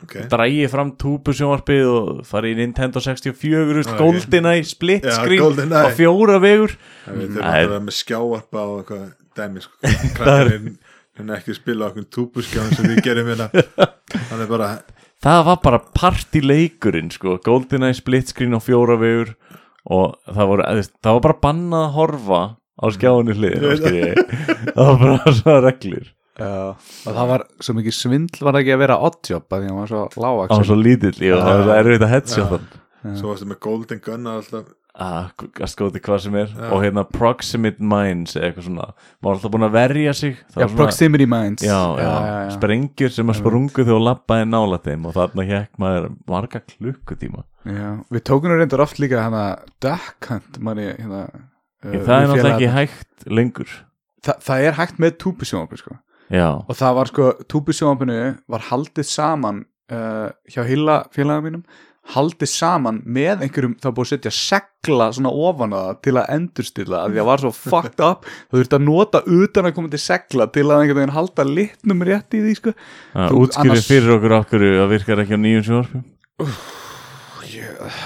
D: ok,
B: drægi fram túpusjónvarpið og fari í Nintendo 64 veist,
D: Já, ok.
B: Goldeneye, split
D: Já,
B: screen
D: GoldenEye.
B: á fjóra vegur
D: það við þurfum
B: Nei.
D: að vera með skjáarpa og eitthvað dæmi sko, krakkarinn en ekki spila okkur túpuskjáðum sem við gerum hérna hann er bara,
B: það var bara partileikurinn sko. Goldeneye, split screen á fjóra vegur og það, voru, eða, þú veist, það var
D: Mhm.
B: bara bannað að horfa á skjáinu hlið það var bara svona reglur
C: og það var svo mikið svindl var ekki að vera oddjob að því að hann var svo
B: hann var
C: lágaksin
B: svo lítill í og það var svo erfitt að headshot hann
D: Svo varstu með Golden Gun að alltaf
B: að skóti hvað sem er og hérna proximate minds eða eitthvað svona, maður er alltaf búin að verja sig það
C: já,
B: var svona-
C: proximity minds
B: já, já, sprengjur sem að sprungu þegar lappaði nála þeim og þarna hekk maður marga klukkutíma
C: já. við tókunum reyndar oft líka hana duck hunt manni, hérna, uh,
B: það er
C: við
B: náttúrulega
C: félagarna.
B: ekki hægt lengur
C: Þa, það er hægt með túbusjónvarpi sko.
B: já,
C: og það var sko, túbusjónvarpinu var haldið saman uh, hjá hilla félagum mínum haldið saman með einhverjum það var búið að setja segla svona ofan á það til að endurstilla af því að það var svo fucked up það þurfti að nota utan að koma til segla til að einhvern veginn halda litnum rétt í því sko.
B: að
C: þú-
B: útskýri
C: annars-
B: fyrir okkur okkur að virkar ekki á nýjum sjónvarpum
C: ég,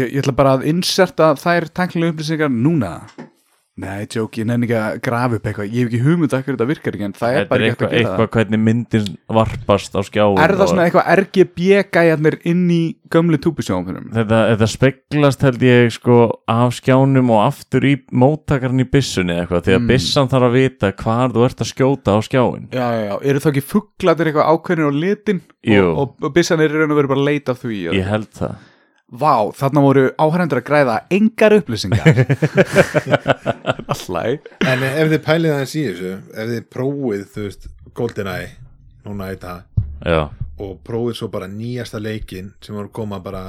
C: ég ætla bara að inserta þær tæknilega upplýsingar núna Nei, tjók, ég nefn ekki að grafa upp eitthvað Ég hef ekki hugmynd að hverju þetta virkar ekki En það er
B: þetta er
C: bara ekki
B: eitthvað,
C: hægt að gera
B: eitthvað hvernig myndin varpast á skjáin
C: það Er það
B: og-
C: svona eitthvað RGB-gæjarnir inn í gömlu túbusjónfunum?
B: þetta, þetta speglast held ég sko af skjánum og aftur í móttakarn í byssunni eða eitthvað því að byssan þarf að vita hvar þú ert að skjóta á skjáin
C: Já, já, já, eru þá ekki fugglatir eitthvað ákveðnir á litin
B: Jú.
C: og, og byssan er í raun og verið bara að leita af því og...
B: ég held það
C: Vá, þarna voru áhærendur að græða engar upplýsingar Allæg
D: En ef þið pælið aðeins í þessu Ef þið prófið, þú veist, Golden Eye Núna í dag
B: já,
D: og prófið svo bara nýjasta leikin sem voru að koma bara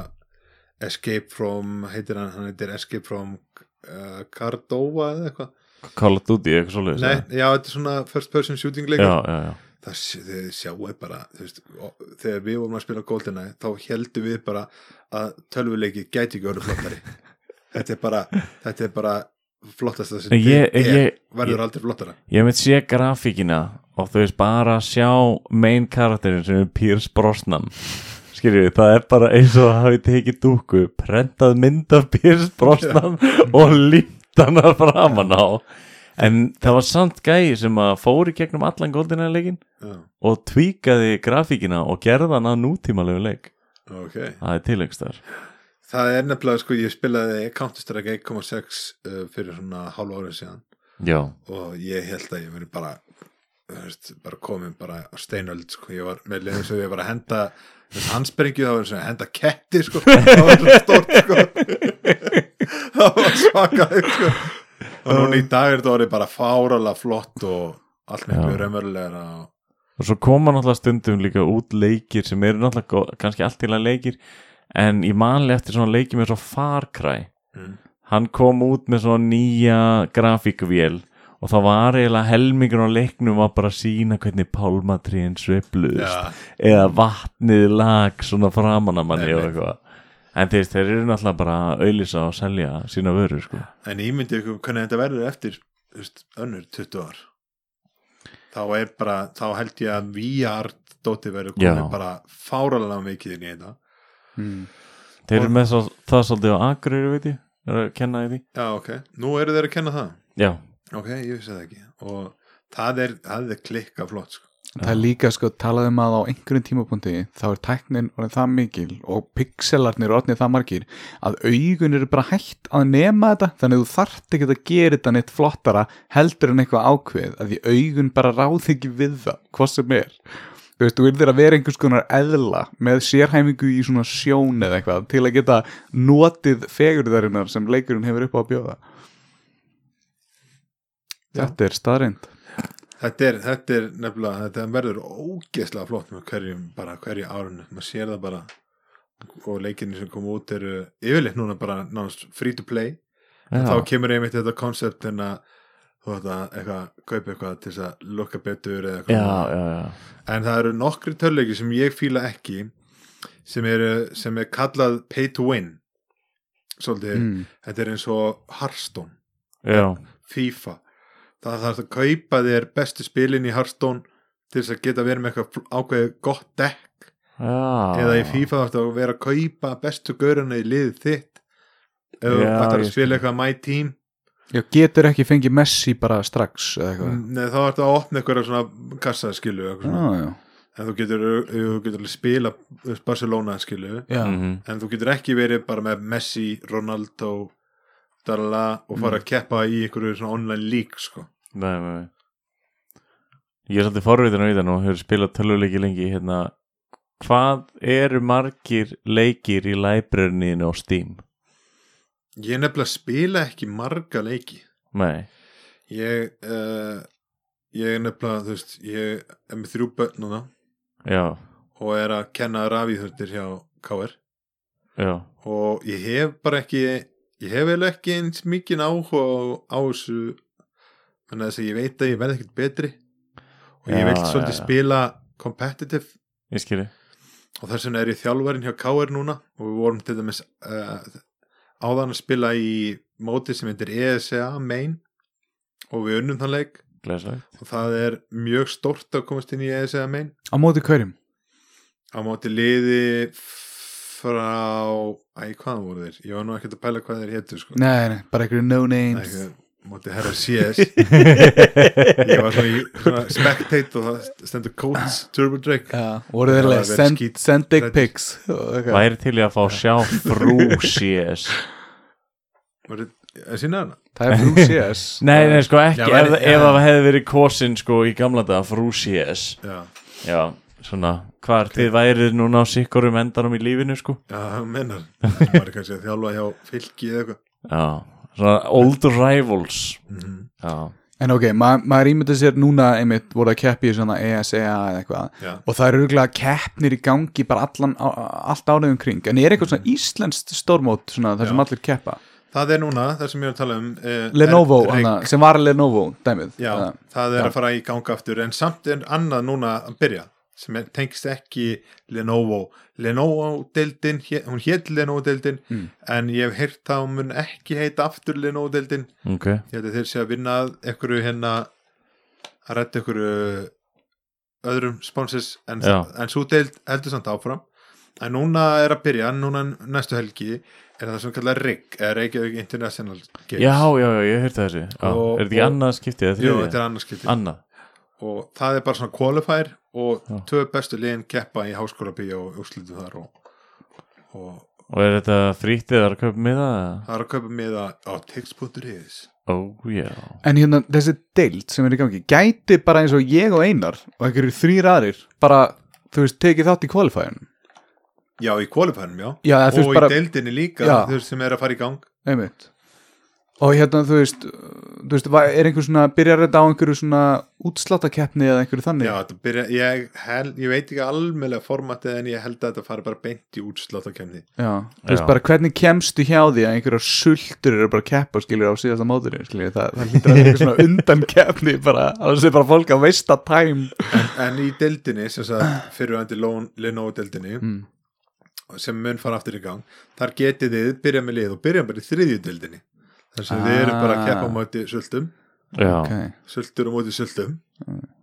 D: Escape from, heitir hann, hann heitir Escape from uh, Cardova eða eitthvað
B: Call of Duty eitthvað svo leiðis
D: Nei, já, þetta er svona first person shooting
B: já,
D: leikur
B: já, já,
D: það sé- þið sjáu bara þú veist, og þegar við vorum að spila Goldeneye þá heldum við bara að tölvuleiki gæti ekki orðu flottari þetta er bara, þetta er bara flottast það sem
B: Nei, ég-
D: til
B: ég-
D: verður aldrei flottara
B: ég mitt sé grafíkina og þú veist bara að sjá main karakterin sem er Pierce Brosnan skiljið, það er bara eins og það hafi tekið dúku, prentað mynd af Pierce Brosnan og límt hana framan á en það var samt gæi sem að fóri gegnum allan Goldeneye leikin
D: já,
B: og tvíkaði grafíkina og gerði hann að nútímalegu leik
D: ok
B: það er tilegstar
D: það er nefnilega, sko, ég spilaði Counter-Strike 1.6 uh, fyrir svona hálfa árið síðan
B: já,
D: og ég held að ég verið bara þú veist, bara komin bara á steinöld sko. ég var með leiðin sem ég var að henda þess handsprengju það var eins og að henda ketti sko. það var svo stort sko. það var svakaði sko. og núna í dag er þetta orðið bara fáralega flott og allt miklu
B: Já.
D: raunverulega og...
B: og svo koma náttúrulega stundum líka út leikir sem eru náttúrulega gó- kannski allt til að leikir en ég manli eftir svona leiki með svo Far Cry
D: Mm.
B: hann kom út með svona nýja grafíkvél og það var eiginlega helmingur á leiknum að bara sína hvernig pálmatriðin sveifluðust
D: Já.
B: eða vatnið lag svona framan að manni og
D: Einmitt.
B: eitthvað en þeir, þeir eru náttúrulega bara að auðlýsa og selja sína vörur sko
D: en ég myndi ykkur hvernig þetta verður eftir þú veist, önnur 20 ár þá er bara, þá held ég að VR dótið verður
B: Já.
D: komin bara fáralega mikið inn í þetta
C: mm.
B: Þeir eru
D: Og-
B: með svo, það svolítið á Akureyri, veit ég, er að kenna í því.
D: já ok, nú eru þeir að kenna það
B: Já,
D: Ok, ég vissi það ekki og það er, það er klikka flott sko.
C: Það er líka sko talað um að á einhverjum tímapunkti þá er tæknin orðin það mikil og pixelarnir orðin það margir að augun eru bara hægt að nema þetta þannig að þú þarft ekki að gera þetta neitt flottara heldur en eitthvað ákveð að því augun bara ráð ekki við það hvað sem er þú veist, þú yrðir að vera einhvers konar eðla með sérhæmingu í svona sjón eða eitthvað til að geta notið fegurðarinnar sem leikurinn hefur upp á að bjóða Þetta er staðrind
D: þetta, er, þetta er nefnilega þetta verður ógeðslega flott með hverjum bara hverju árunni, maður sér það bara og leikinni sem kom út eru yfirleitt núna bara nánast free to play
B: já,
D: þá kemur einmitt þetta koncept en að þú ætla eitthvað, kaupa eitthvað til þess að lukka betur eða
B: já,
D: eitthvað
B: já, já,
D: en það eru nokkri töluleiki sem ég fíla ekki sem eru sem er kallað pay to win svolítið,
C: mm.
D: þetta er eins og Hearthstone
B: já,
D: FIFA það þarf að kaupa þér bestu spilin í Hearthstone til þess að geta verið með eitthvað ákveðið gott dekk
B: já.
D: eða í FIFA þarf að vera að kaupa bestu gaurana í liðið þitt ef þú
B: Já,
D: ætlar
B: ég
D: að spila eitthvað My Team
C: Já, getur ekki fengið Messi bara strax eða eitthvað
D: Nei, þá ertu að opna eitthvað svona kassaskilu eitthvað svona.
C: Já, já,
D: en þú getur, þú getur alveg spila Barcelona skilu
C: já.
B: Mhm.
D: en þú getur ekki verið bara með Messi, Ronaldo Dalla og fara að keppa í einhverju svona online league sko.
B: Nei, nei, nei. Ég er svolítið forvitin á því það nú, hefur spilað tölvuleiki lengi hérna, hvað eru margir leikir í libraryninu á Steam?
D: Ég nefnilega spila ekki marga leiki
B: Nei,
D: Ég, uh, ég nefnilega, þú veist, ég er með þrjú börn núna
B: já,
D: og er að kenna rafíþurftir hjá KR
B: já,
D: og ég hef bara ekki, ég hef eiginlega ekki eins mikið áhuga á, á þessu, þannig að þess að ég veit að ég verð ekkert betri og ég
B: Já,
D: vil
B: já,
D: svolítið
B: já.
D: spila competitive
B: ég skilji.
D: og þess vegna er ég þjálfarinn hjá KR núna og við vorum til dæmis uh, áðan að spila í móti sem heitir E ESA main og við unnum þann leik
B: Gleðslegt.
D: og það er mjög stórt að komast inn í E ESA main
C: á móti hverjum
D: á móti liði frá æ, hvaðan voru þeir? Ég var nú ekkert að pæla hvað þeir hétu sko
C: nei, nei, bara einhverju no
D: Nei,
C: names
D: ekki, á móti herra CS ég var svona, í, svona spectate og það stendur coach Turbo Drake
C: Já, voru þeir
D: Það
C: leið,
D: verið
C: send,
D: skít-
C: send dick
D: hræddir.
C: pics og eitthvað.
B: Væri til ég að fá að sjá frú CS
D: var þetta að sína hana?
C: það er frú CS
B: Nei, nei, sko ekki,
D: Já, væri-
B: ef, ef það hefði verið kosin sko í gamla daga, frú CS
D: Já,
B: Já, svona, hvað er þið værið núna á sikkurum endanum í lífinu sko?
D: já, það menar það var kannski að þjálfa hjá fylki eða eitthvað
B: Já, svona old rivals
D: Mhm.
B: Já,
C: en ok, ma maður ímynda sér núna einmitt voru að keppi í svona E ESEA eða eitthvað
D: Já.
C: og það eru örgulega keppnir í gangi bara allan, á- allt árið um kring en er eitthvað svona íslenskt stórmót svona, þar sem
D: Já.
C: allir keppa
D: það er núna, það sem ég er að tala um eh,
C: Lenovo,
D: er,
C: hana, sem var Lenovo dæmið
D: Já,
C: Eða-
D: það er
C: Já.
D: að fara í ganga aftur en samt er annað núna að byrja sem er, tengst ekki Lenovo Lenovo-deildin, hé- hún hétt Lenovo-deildin
C: Hmm.
D: en ég hef heyrt það að hún mun ekki heita aftur Lenovo-deildin
B: ok
D: ég held að þeir sé að vinna að einhverju hérna að rætta einhverju öðrum sponsors en,
B: Já.
D: en svo deild heldur samt áfram en núna er að byrja, núna næstu helgi er það sem kallar RIG eða Reykjavík International Games
B: Já, já, já, ég heyrti þessi já,
D: Og-
B: Er þetta ekki
D: og-
B: annað skiptið? eða
D: Jú,
B: þriðja?
D: þetta er annarskipti
B: Annað,
D: og það er bara svona qualifier og
B: Já.
D: tvö bestu liðin keppa í háskóla bíu og úrslitu þar og, og
B: og er þetta frítið að kaupa með það?
D: það er að kaupa miða á tix.is
B: Ó, já
C: En hérna þessi deild sem er í gangi gæti bara eins og ég og Einar og einhverjir þrýr aðrir bara, þú veist, tekið þátt í qualifyern
D: já í qualifierum já,
C: Já, eða þú
D: og
C: veist
D: í
C: bara-
D: deildinni líka
C: Já.
D: þú veist sem er að fara í gang
C: einmitt og hérna, þú veist, þú veist va- er einhver svona, byrjar þetta á einhverju svona útslattakeppni eða einhverju þannig
D: já, þetta byrja, ég, hel, ég veit ekki almennlega formatið en ég held að þetta fara bara beint í útsláttakemni
C: Já. þú veist
B: Já.
C: bara hvernig kemstu hjá því að einhverjar sultur eru bara að keppa skilur á síðasta mótinu skilur, það, það hlýtur að vera einhver svona undan keppni bara, það sé bara fólk að veista time
D: en í deildinni, sem sagt fyrirvændi Lenovo deildinni
C: Mm.
D: sem mun fara aftur í gang þar getið þið byrja með lið og byrja bara í þriðju deildinni þar sem þið eru bara að keppa á
C: Ah.
D: móti sultum
B: Já,
C: okay.
D: sultur á móti sultum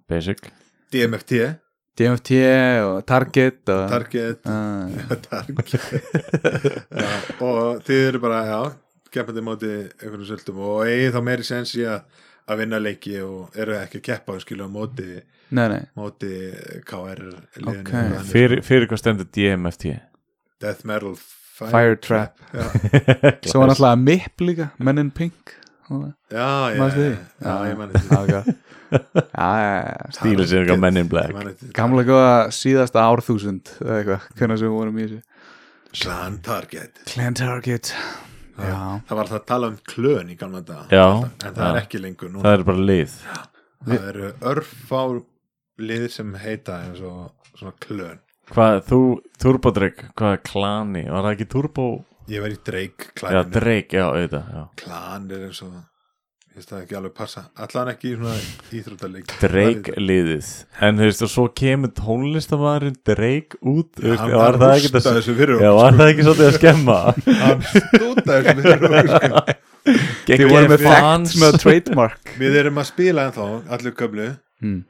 B: basic
D: DMFT,
C: DMFT E og Target og,
D: Target
C: Ah,
D: Target já, og þið eru bara, já keppandi á móti einhvern sultum og eigið þá meiri sens í að að vinna leiki og eru ekki að keppa og skilja á móti,
C: nei, nei
D: móti KR liðinu.
C: Ok.
D: Þannig að
B: Fyrir, fyrir hvað stendur DMFT?
D: Death Metal Fire,
C: Fire Trap Svo var náttúrulega MIP líka, Men in Pink
D: Já, já,
C: Manstu
D: já,
C: því?
D: já, ég mani
C: Já, ok. Já, já, já.
B: Stíli sig eitthvað Men in Black.
C: Gamla góða síðasta árþúsund eða eitthvað, hvernig sem við vorum í þessu
D: Clan Target
C: Clan Target Já,
D: Það var alltaf að tala um klön í gamla dag
B: Já.
D: En það er
B: Já.
D: ekki lengur núna
B: Það er bara lið
D: Það eru örfá liðir sem heita eins og svona klön
B: Hvað, þú, Turbodrygg, hvað er klani? Var það ekki Turbo?
D: Ég var í Drake
B: Já,
D: klæninu
B: Drake, já, auðvitað já.
D: Klan er eins og Ég veist það ekki alveg passa Allan ekki í svona íþróttaleik
B: Drake liðið En þú veist, og svo kemur tónlistamæðurinn Drake út þú veist,
D: Hann
B: já, var
D: var
B: það
D: að
B: ekki
D: rústa
B: það-
D: þessu fyrir
B: Já,
D: okkur sko.
B: var það ekki svolítið að skemma?
D: Hann stúta þessu fyrir okkur sko.
C: þið voru með facts með trademark
D: Við erum að spila ennþá Allir gömlu
C: Mm.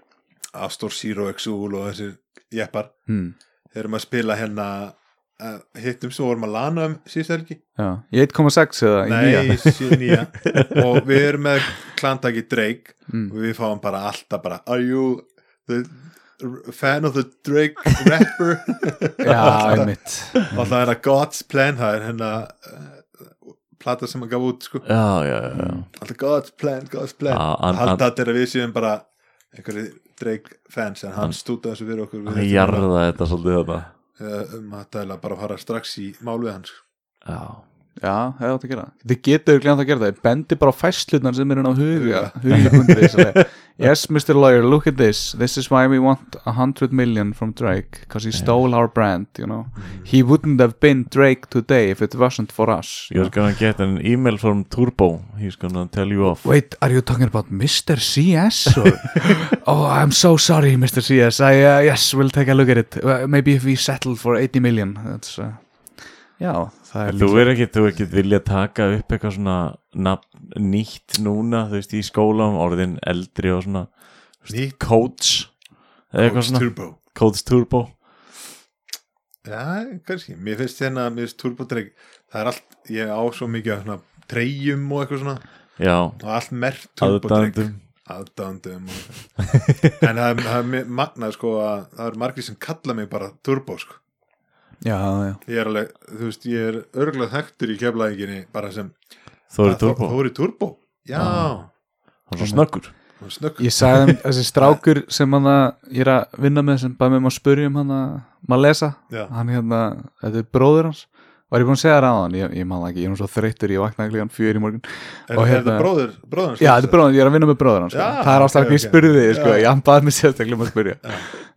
D: Astor Zero Exul og þessir jeppar
C: hmm.
D: Þeir erum að spila hérna uh, hittum sem vorum að lana um síðust helgi
C: Já, í 1.6 eða í
D: Nei,
C: nýja
D: síðan nýja og við erum með klantaki Drake
C: Mm.
D: og við fáum bara alltaf bara Are you the fan of the Drake rapper?
C: Já, einmitt
D: og það er að God's Plan það er hérna uh, plata sem hann gaf út sko
B: Já, já, já, já
D: Mm. alltaf God's Plan, God's plan
B: Ah, an-
D: halda þetta er að við séum bara einhverju Drake fans en hann stúta þessu fyrir okkur
B: Hann jarða þetta svolítið þetta
D: uh, um að dæla bara að fara strax í mál við sko. hans
B: Já,
C: Já, hefði átt að gera það. Þið getur glemt að gera það, ég bendi bara á fæslunar sem er hann á huga, huga Yes, Mr. Lawyer, look at this This is why we want a hundred million from Drake Because he stole our brand, you know He wouldn't have been Drake today if it wasn't for us you
B: you're gonna get an email from Turbo He's gonna tell you off
C: Wait, are you talking about Mr. CS? Or... oh, I'm so sorry, Mr. CS. I, uh, yes, we'll take a look at it. Uh, maybe if we settle for 80 million. That's, uh... Já, það er
B: Þú er ekki, þú er ekki vilja taka upp eitthvað svona nafn, nýtt núna, þú veist, í skólan, orðin eldri og svona
D: Nýtt
B: Coach eða eitthvað
D: Coach
B: svona,
D: Turbo
B: Coach Turbo
D: Já, kannski, mér finnst hérna, mér finnst Turbo Drake það er allt, ég á svo mikið af svona, treyjum og eitthvað svona
B: Já,
D: og allt mert Turbo Drake
B: aðdændum
D: aðdándum og- en það er, það er mi- magnað sko að það eru margir sem kalla mig bara Turbo sko
C: Já, já.
D: ég er alveg, þú veist, ég er örgulega þekktur í keflæðinginni bara sem
B: Þóri Turbo,
D: Þóri Turbo, já ah.
B: hann er svo snöggur
D: snögg
C: Ég sagði þeim, þessi strákur sem hann að ég er að vinna með sem bæði með maður að spurja um hann að maður lesa
D: Já.
C: hann hérna, þetta er bróður hans var ég búinn að segja það ráðan, ég, ég man það ekki ég er nú svo þreyttur, ég vaknaði klíðan fjör í morgun
D: er, er þetta bróður, bróður hans?
C: hérna- Já, þetta er bróðan, ég er að vinna með bróður hans sko.
D: Já,
C: það er ástæðan
D: ok,
C: okay, ég
D: ok.
C: spurði þig, sko,
D: Já.
C: ég hann baði mér sérstaklega um að spurja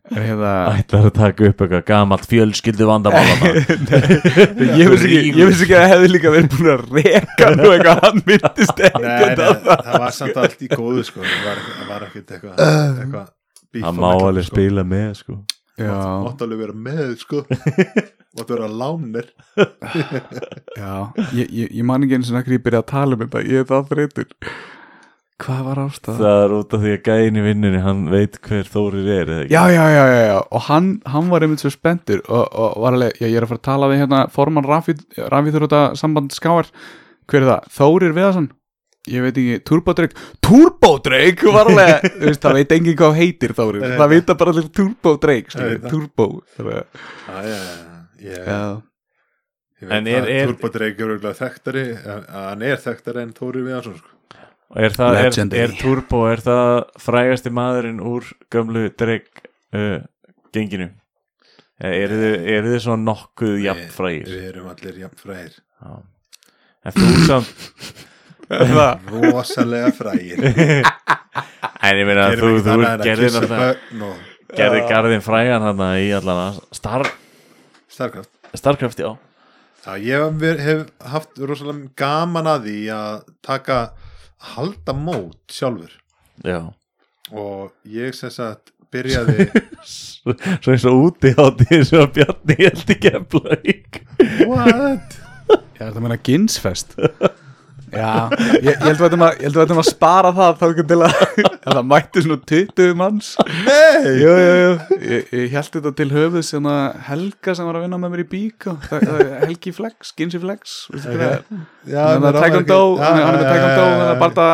C: en hérna,
B: Ætlar að taka upp eitthvað gamalt fjölskyldu vandamála
C: ég vissi ekki, ég vissi ekki að það hefði líka verið búin að reka nú eitthvað, hann myndist
D: Nei,
C: ekki
D: nei, það var samt allt í góðu sko það var, ekki- það var ekkert eitthvað
C: Um,
D: eitthvað bíf á
B: Það má
D: milli,
B: alveg
D: sko.
B: spila með, sko
C: Já,
D: Máttu alveg vera með sko Máttu vera lánir
C: Já, ég, ég, ég man ekki eins og nakkur ég byrja að tala um þetta, ég er það þreytur Hvað var ástæða?
B: Það er út af því að gæðin í vinnunni, hann veit hver Þórir er, eða ekki
C: Já, já, já, já, já, og hann, hann var einmitt svo spenntur og, og var alveg, já, ég er að fara að tala við hérna formann rafíður út að samband skáar Hver er það? Þórir Viðarsson? Ég veit ekki, Turbodreik Turbodreik var alveg, þú veist, það veit engin hvað heitir Þórir
D: Nei.
C: Það vita bara allir Turbodreik,
D: Nei, það-
C: Turbo þannig að-
D: Já, já, já, já.
C: Já,
D: Ég
B: En
D: veit
B: er-
D: að
B: er-
D: Turbo Drake er auðvitað þekktari að að hann er þekktari en Þóri Viðarsson sko.
B: Og er það, er,
C: Legendary.
B: er Turbo, er það frægasti maðurinn úr gömlu Drake uh, genginu? Er þið, er þið svo nokkuð jafn frægir?
D: Við erum allir jafn frægir
B: Já. En þú samt,
C: það
D: Rosalega frægir
B: en ég meina þú,
D: Gerum ekkert
B: þú
D: annað en að
B: gerði
D: kyssa
B: náttúrulega,
D: börn og
B: gerði garðin frægan hann í allan að star,
D: Starcraft
B: Starcraft, já.
D: Já, ég hef ver- hef haft rosalega gaman að því að taka halda mót sjálfur
B: Já.
D: og ég sem sagt byrjaði
B: Svo svo eins og úti á því sem að Bjarni held í Keflavík.
D: What?
C: Já, þetta meina Ginsfest Já, ég, ég held að þetta maður að spara það þá ekki til að það mættu svona 20 manns Nei Jú, jú, jú, ég, ég held þetta til höfuð sem að Helga sem var að vinna með mér í bíka Það- það- Helgi Flex, Ginsi Flex veistu hvað það er?
D: Já,
C: Hann er að
D: mér
C: um
D: rámar
C: Taekwondo,
D: ekki-
C: hann er hann er með
D: Já, já,
C: Taekwondo
D: já, já,
C: hann er
D: já.
C: barða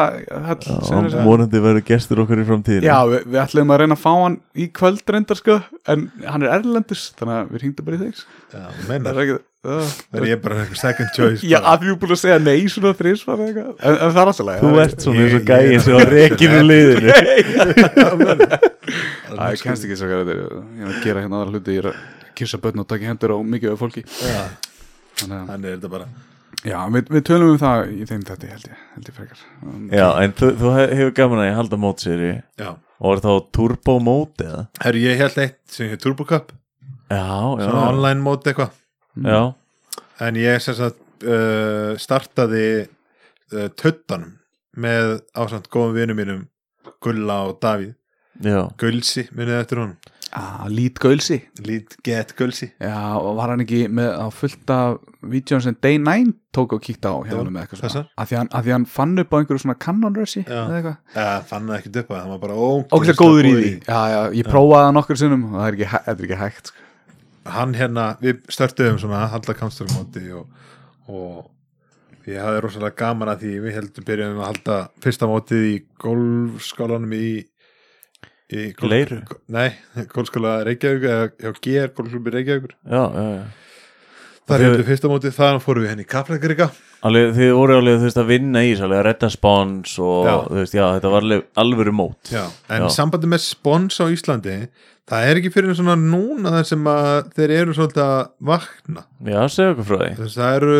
C: höll sem er-
B: Og vonandi verður gestur okkur í framtíðinu.
C: Já, við, við ætlum að reyna að fá hann í kvöld reyndar sko, en hann er erlendis þannig að við hringdum bara í þig
D: Já,
C: Það
D: meinar,
C: er ekki það
D: er ég bara eitthvað second choice
C: Já,
D: bara.
C: af því við erum búin að segja nei svona þrísvar eða eitthvað en, en það er alltaf
B: Þú
C: leið
B: ert svona eins og
D: Ég-
B: gæi
D: ég-
B: sem var rekinu liðinu
C: Það er kennst ekki svo hvað þetta er Ég er að gera hérna aðra hluti Ég er að kissa börn og taka í hendur á mikið af fólki
D: Já,
C: Þannig að
D: Þannig er þetta bara
C: Já, við, við tölum um það í þeim þetta held ég Held ég frekar um,
B: Já, en þú, þú he- hefur gaman að ég halda mótsýri
D: Já,
B: og er þá turbo mót eða?
D: herru ég held eitt sem ég Turbo Cup,
B: Já, já,
D: svona online mót eitthvað
B: já,
D: En ég sem sagt uh, startaði uh, töttanum með ásamt góðum vinum mínum Gulla og Davíð
B: já
D: Gulsi, munið eftir honum
C: ah, Lít Gölsi
D: Lít get Gulsi
C: Já, og var hann ekki með á fullt af vídjón sem Day 9 tók og kíkta á hjá
D: Já,
C: hann með eitthvað
D: þessar.
C: svona að því, hann, að því hann fann upp á einhverju svona Canon Resi
D: Já.
C: eða eitthvað
D: uh, Fann það ekkert upp að það var bara ógeðslega
C: Ógæslega góður í
D: góður
C: því Já, já, ég prófaði hann okkur sinnum og það er ekki, hæ- þetta er ekki hægt sko.
D: Hann hérna, við startuðum svona halda kamsturumóti og, og ég hafði rosalega gaman að því við heldum byrjum að halda fyrsta mótið í golfskálanum í, í golf-
B: Leiru.
D: Nei, golfskála Reykjavík eða hjá GR golfklubbi Reykjavíkur
B: Já, já, já
D: Það er þetta fyrsta móti, þaðan fórum við henni í Kaplakrika
B: alveg, þið voru alveg þú veist að vinna í þessu, alveg að redda spons og
D: Já.
B: þú veist, já, þetta var alveg alvöru mót
D: Já, en
B: Já.
D: sambandi með spons á Íslandi það er ekki fyrir en svona núna þar sem að þeir eru svolítið að vakna
B: já segja okkur frá því
D: þess að það eru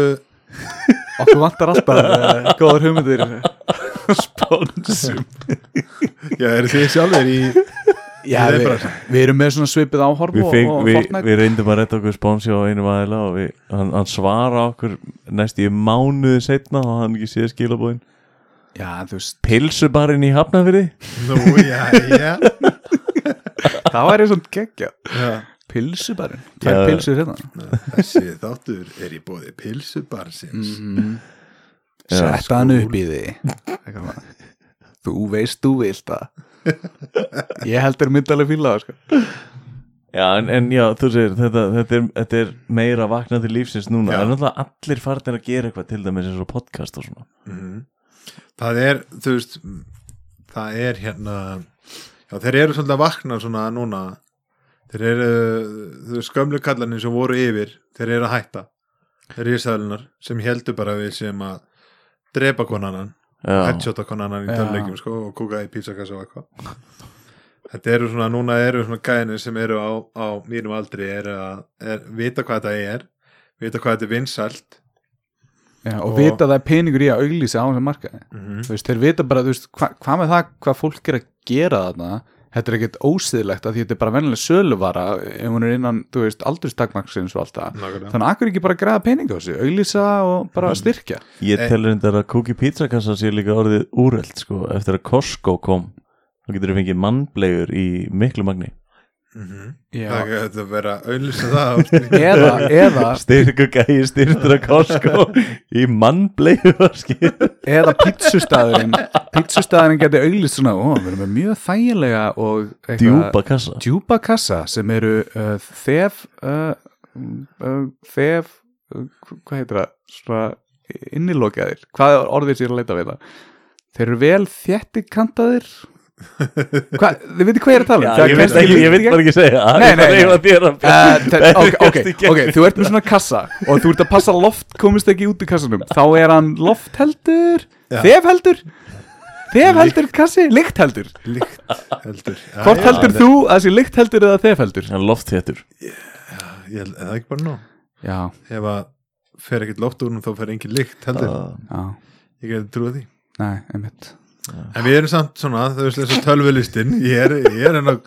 C: Okkur vantar alltaf uh, góður hugmyndir
B: sponsum
D: já, eru þið sjálfur í
C: Já,
D: Við erum
C: við,
D: bara-
C: við erum með svona svipið áhorf
B: við,
C: og,
B: feng,
C: og
B: við,
C: Fortnite
B: við reyndum að redda okkur sponsi á einu aðila og við, hann, hann svara okkur næst í mánuði setna og hann ekki séð skilabóðin
C: Já, þú veist,
B: pilsubarinn í Hafnafyrði
D: nú, já, já,
C: það væri svona geggja
D: já.
C: Pilsu bara,
B: Já.
C: tvær pilsur hérna
D: þessi þáttur er í bóði pilsubarsins
C: Mhm. Setta hann upp í því Eitthvað svona. Þú veist, þú vilt það Ég heldur myndalega fíla það sko.
B: Já, en, en já, þú segir, þetta, þetta, er, þetta er meira vakna til lífsins núna
D: Já.
B: Það er náttúrulega allir farnir að gera eitthvað til dæmis eins og podcast og svona
D: það er, þú veist það er hérna já, þeir eru svolítið að vakna svona núna þeir eru þau skömmlu kallarnir sem voru yfir þeir eru að hætta þeir eru í sælunar sem heldur bara að við sem að drepa konanann
B: Já,
D: headshota kon annan í
C: Já.
D: töluleikjum sko, og kúka í pítsakassa og eitthvað þetta eru svona, núna eru svona gæðinu sem eru á, á mínum aldri eru að er, vita hvað þetta er vita hvað þetta er vinsælt
C: Já, og,
D: Og-
C: vita að það er peningur í að auglýsa á þessum markaði
D: mm
C: þú veist, þeir vita bara, þú veist, hva, hvað með það hvað fólk er að gera þarna þetta er ekkert ósýðlegt að því þetta er bara vennilega söluvara ef hún er innan, þú veist, aldurstakmaksins og allt það,
D: -hmm.
C: þannig að akkur ekki bara græða pening á þessu, auglýsa og bara
B: Mm.
C: styrkja
B: ég telur þetta að kúki pizzakassa sé líka orðið úrelt sko Eftir að Costco kom, þá getur þið fengið mannblegur í miklu magni
D: Mhm. það er þetta að vera auðlýsa það á stríðinu.
C: eða, eða,
B: Styrku gæði styrktur að Costco í mannblegur skil
C: eða pítsustæðurinn pítsustæðurinn geti auglýst svona ó, við erum með mjög þægilega og eitthvað-
B: Djúpa kassa
C: djúpa kassa sem eru uh, þef uh, uh, þef uh, hvað heitir það svona innilokaðir hvað er orðið sér að leita við það þeir eru vel þjætti kantaðir hvað, þið veitir hvað ég er að tala um
B: Já,
C: Þegar
B: ég veit
C: kassan
B: ekki, ég
C: lítur
B: veit bara ekki segja það.
C: Nei,
B: Ég bara
C: nei,
B: reyfa þér að-
C: Uh, te-
B: Þetta
C: ok, ok,
B: gæti ekki-
C: ok, þú ert með svona kassa og þú ert að passa að loft komist ekki út í kassanum þá er hann loft heldur
D: Já.
C: þef heldur þef heldur kassi, lykt heldur
D: líkt heldur Já,
C: hvort
D: já,
C: heldur þú að þessi lykt heldur eða þef heldur
B: Hann lofthettur
D: ég held- er það ekki bara nóg
C: já,
D: ef að fer ekkert loft úr hún þá fer engin líkt
B: Eh,
D: heldur
B: Ah.
C: já,
D: ég geti trúið því
C: nei, einmitt
D: en við erum samt svona, þú veist þessu tölvulistin ég er, ég er enn að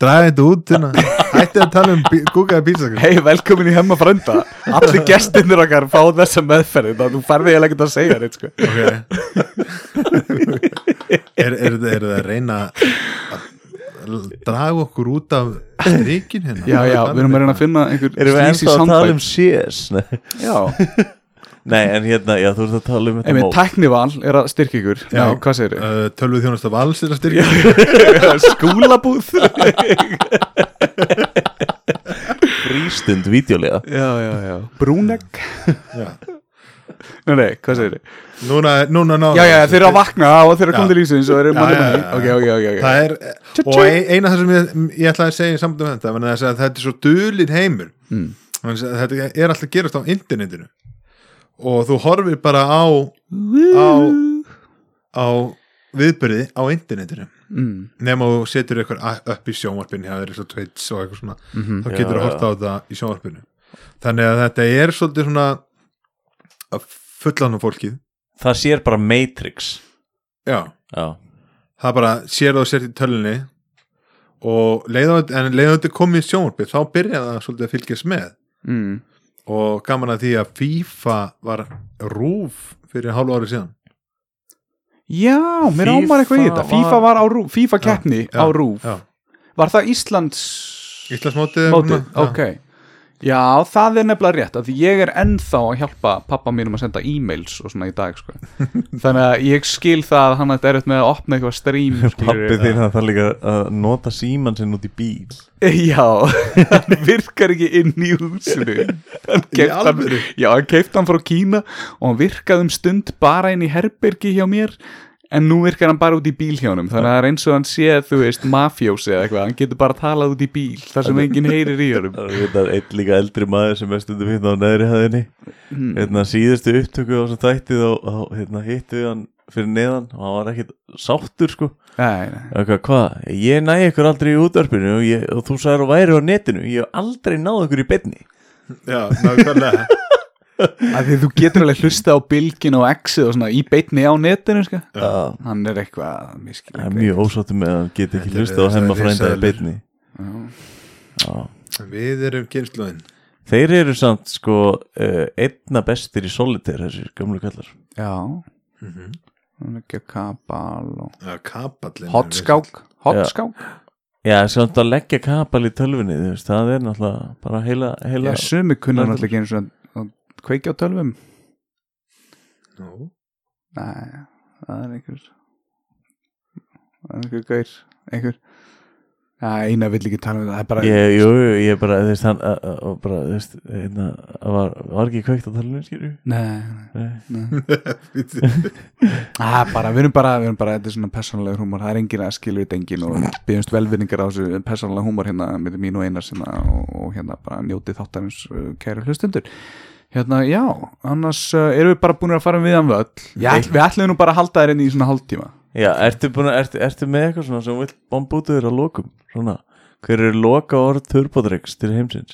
D: draga þetta út hérna. hætti að tala um kúkaða pítsakassa
C: hei, velkomin í hemma frönda allir gestinnir okkar fá þessa meðferði þá þú færði ég ekkert að segja þetta sko.
D: Ok er, er, er það að reyna að draga okkur út af stríkin hérna?
C: já, já, við erum að reyna að finna einhver
B: Erum við ennþá
C: sleazy
B: að tala
C: soundbite.
B: um CS? Nei.
C: já,
B: Nei, en hérna, já, þú ert að tala um þetta
C: einmitt, tæknival er að styrkja ykkur
D: Já.
C: nei, hvað segir
D: Uh, tölvuð þjónast af alls er að styrkja
C: þið? skúlabúð
B: frístund vídeolega
C: já, já, já, brúnegg
D: Já.
C: nei, nei, hvað segir þið?
D: núna, núna ná
C: já, já, þeir eru að vakna og þeir eru að koma
D: Já.
C: til lífsins og þeir eru
D: Já,
C: manni
D: já,
C: manni
D: já.
C: ok, ok, ok, ok
D: Það er, og ein- eina það sem ég, ég ætlaði að segja í samt um þetta, menn þess að þetta er svo dulinn heimur mm. þetta er alltaf að gerast á internetinu og þú horfir bara á á, á viðbyrði á internetinu
C: mm.
D: nema þú setur eitthvað upp í sjónvarpinu hjá þér eins og Twitch og eitthvað svona
C: mhm,
D: þá getur þú
B: Já,
D: horta á það í sjónvarpinu þannig að þetta er svolítið svona að fullanum fólkið
B: Það sér bara Matrix
D: já,
B: Já,
D: það bara sér það og sér í tölunni og leiðum, en leiðum þetta er komið í sjónvarpið þá byrja það svolítið að fylgjast með
C: Mm.
D: og gaman að því að FIFA var rúf fyrir hálfu ári síðan
C: já, mér ámar eitthvað í
B: FIFA
C: þetta FIFA var á rúf, FIFA keppni
D: Já,
C: á rúf
D: já.
C: var það Íslands
D: Íslandsmótið er
C: mótið,
D: núna, já.
C: ok Já, það er nefnilega rétt af því ég er ennþá að hjálpa pappa mínum að senda e-mails og svona í dag sko. þannig að ég skil það að hann ætti erut með að opna eitthvað stream
B: pappi
C: skilurðu.
B: þinn það þarf líka að nota síman sinn út í bíl
C: Já, hann virkar ekki inn í húsinu Hann keypti hann,
D: alvöru?
C: Já, hann keipt hann frá Kína og hann virkaði um stund bara inn í herbergi hjá mér en nú virkar hann bara út í bíl hjá hann þannig að það er eins og hann sé, þú veist, mafjósi eða eitthvað, hann getur bara talað út í bíl þar sem enginn heyrir í honum
B: Það er hérna einn líka eldri maður sem er stundum hérna á neðri hæðinni hérna, síðustu upptöku á þessu þætti þá, þá hérna, hittu við hann fyrir neðan og hann var ekkit sáttur sko
C: Nei, nei.
B: Eitthvað, hvað, ég næ ykkur aldrei í útvarpinu og, ég, og þú sagður að væri á netinu ég hef aldrei náð ykkur í betni
D: já, nákvæmlega
C: Af því þú getur alveg hlusta á bylgin og exið og svona í beitni á netinu sko.
B: það
C: hann er eitthvað miskil
B: er mjög ósáttur með að hann geti ekki
D: Þetta er-
B: hlusta á
D: þetta er
B: hemma frænda í
D: vinsælir.
B: betni Já.
D: við erum kynsluðin
B: þeir eru samt sko uh, einna bestir í solitaire þessir gamlu kallar
C: já hann er ekki að kapal og...
D: kapallin
C: hotskák, hotskák
B: já, samt að leggja kapal í tölvinni þú veist, það er náttúrulega bara heila, heila
C: Já, sumi kunnar
B: Lærdómur.
C: náttúrulega ekki eins og að- að kveikja á tölvum
D: Nú,
C: Nei, það er einhver það er einhver gaur einhver Já, eina vill ekki tala um það, það er bara
B: Ég, jú, jú, ég bara, þú veist, hann, að- að- að- bara, þú veist, hérna, að var, var ekki kveikt að tala um, skilju?
C: Nei,
B: Nei.
D: bíddu.
C: það er bara, við erum bara, við erum bara, þetta er svona persónulega húmor, það er engin að skilja við engin og byggjumst velvinningar á þessu persónulega húmor hérna með mín og einar sinna og, og hérna bara njótið þáttarins uh, kæru hlustundur. Hérna, já, annars uh, erum við bara búin að fara við hann völl. Já, við ætlum nú bara að halda þér inn í svona hálftíma.
B: Já, ertu, búin, að- ertu, ertu með eitthvað svona sem vill bomba út úr að lokum? Svona, hver eru loka orð turbodregs til heimsins?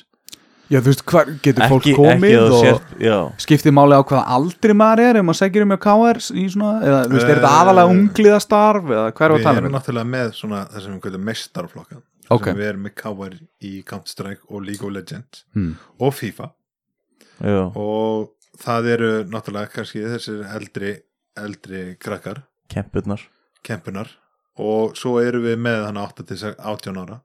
C: Já, þú veist, hvar getur fólk komið
B: að þú
C: og...
B: sért- já,
C: skiptir máli á hvaða aldri maður er ef maður segir um hjá KR í svona, eða þú veist, er þetta
D: Eh,
C: aðalega ungliðastarf eða hvað er það að
D: við
C: tala
D: erum
C: um?
D: náttúrulega með svona það sem við kallum mestarflokka
C: Ok.
D: sem við erum með KR í Counter-Strike og League of Legends
C: Hmm.
D: og FIFA
B: já,
D: og það eru náttúrulega kannski þessir eldri eldri krakkar,
B: kempurnar.
D: kempunar og svo erum við með hann 8-18 ára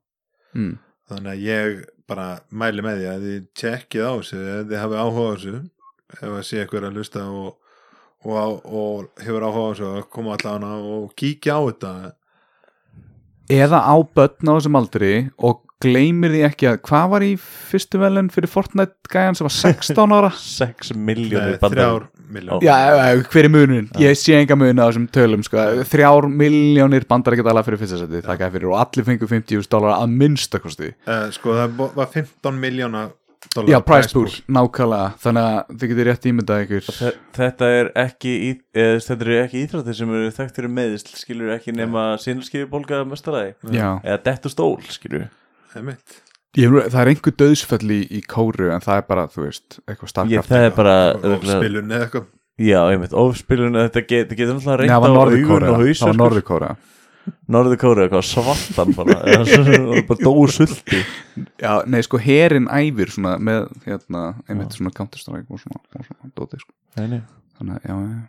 C: Mm.
D: þannig að ég bara mæli með því að þið tjekkið á þessu ef þið hafið áhuga á þessu ef það sé ykkur að lusta og, og, á- og hefur áhuga á þessu að koma allan og kíkja á þetta
C: Eða á börn á þessum aldri og gleymir því ekki að hvað var í fyrstu velun fyrir Fortnite gæjan sem var 16 ára?
B: 6
D: Nei,
B: miljónir
D: þrjár
B: bandar.
D: miljón
B: Ó.
C: Já, eh, hver er munurinn? Ég sé enga mun á þessum tölum sko. Þrjár miljónir bandar ekki tala fyrir fyrsta seti, þakka þér fyrir og allir fengur 50.000 dólar að minnstakosti.
D: uh, sko það bo- var 15 miljóna
C: Já, price pool, nákvæmlega, þannig að þið getur rétt ímyndað ykkur.
B: Þe- Þetta er ekki, í, eða, þú veist, þetta eru ekki íþróttir sem eru þekktir um meðisl, skilur ekki nema sinnskipi bólgaða mestaræði.
C: Já.
B: Eða dettu stól, skilur.
D: einmitt
C: Ég, hef- það er einhver döðsfell í, í kóru en það er bara, þú veist, eitthvað
B: Ég,
C: starfkraft
B: það er bara,
D: og spilun eða eitthvað
B: já, einmitt, ofspilun, þetta get- þetta getur náttúrulega
C: Nei,
B: reynd
C: það
B: á
C: var
B: augun
C: Norður-Kórea
B: og sko. hausverkur.
C: Það var Norður-Kórea
B: Norður Kóru eitthvað svartan bara eða svona, bara dóu sulti
C: Já, nei, sko, herin æfir svona með, hérna, einmitt svona Counter-Strike og svona, og svona, dóti, sko Þannig, að, já, já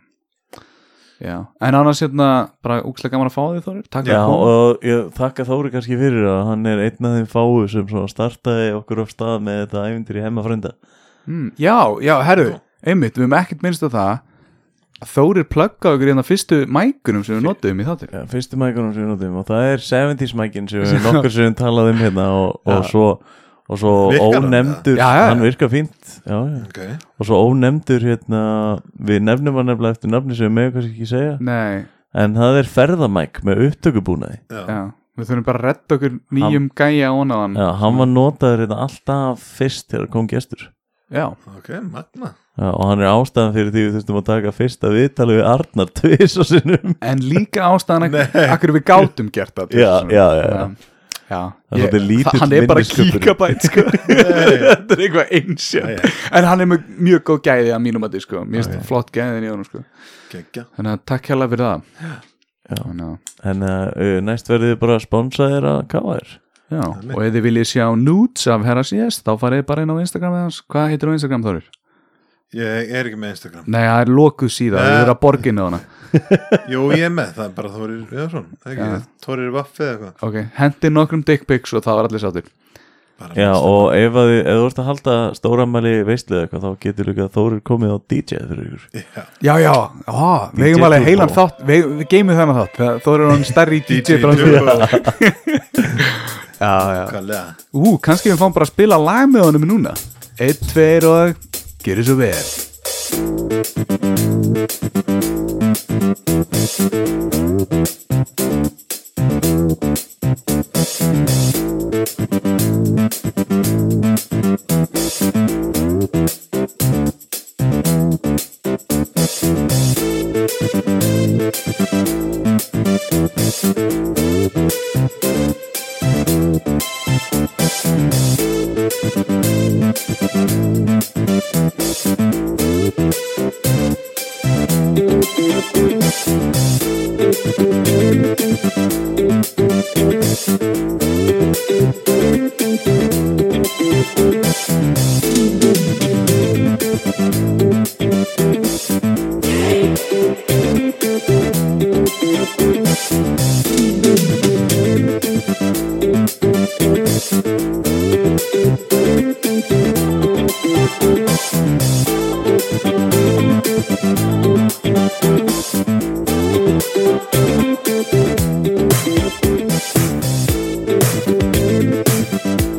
C: Já, en annars, hérna, bara úkslega gaman að fá því Þórir Takk fyrir
B: Já
C: að koma
B: og ég þakka Þóri kannski fyrir að hann er einn af þeim fáu sem svona startaði okkur af stað með þetta ævindir í hemmafrænda
C: mm, Já, já, herðu, einmitt, við höfum ekkert minnst á það að Þórir plugga okkur hérna fyrstu mækunum sem við notuðum í þáttir
B: Já, fyrstu mækunum sem við notum og það er 70s mækin sem við nokkur sem við talaðum hérna og, og svo og svo
D: Virkar hann,
B: ónefndur,
C: eða? Já, já.
B: hann virka fínt já, já.
D: okay.
B: og svo ónefndur hérna, við nefnum hann nefnilega eftir nafni sem við meðum kannski ekki segja
C: Nei,
B: en það er ferðamæk með upptökubúnaði
C: já, við þurfum bara að redda okkur nýjum gæja ón á hann
B: Já, hann var notaður hérna alltaf fyrst þegar kom gestur
C: Já,
D: ok, magna
B: Já, og hann er ástæðan fyrir því við þurftum að taka fyrsta viðtalið við Arnar tvis og sinnum
C: en líka ástæðan að akkur við gátum gert það
B: Já, já, já, já.
C: já.
B: Það er
C: Ég,
B: svolítið lítill
C: það- hann er bara
B: minniskuppur.
C: kíkabæt sko. þetta er eitthvað einsjönd en hann er með mjög góð gæði að mínum að því sko. mjög flott gæðin í honum sko.
D: geggja
C: þannig að takk hérlega fyrir það Þannig að-
B: En uh, næst verðið þið bara að sponsa þér að kafa þér
C: Já, og ef þið viljið sjá nudes af herra síðast þá farið bara inn á Instagram eða hans hvað heitir á Instagram Þorur?
D: ég er ekki með Instagram
C: Nei, það er lokuð síða,
D: Nei.
C: við erum að borginni á hana
D: jú, ég er með, það er bara Þórir Viðarsson ekki, Þórir Vaffi eða eitthvað
C: Ok, hendi nokkrum dick pics og það var allir sáttir
D: Bara
B: Já,
D: mest.
B: og ef, að, þið- ef þú ert að halda stóramæli veislið eitthvað þá getur líka Þórir komið á DJ fyrir ykkur
D: Já.
C: Já, já, á, við eigum
B: DJ
C: alveg
B: Turbo.
C: heilan þátt við, við geymum þennan þátt, það- þó erum hann stærri í DJ bransu
D: Turbo,
C: Já, já
D: kallega.
C: Ú, kannski við fáum bara að spila lag með honum núna Eitt, tveir og Gjörðu svo vel
E: Thank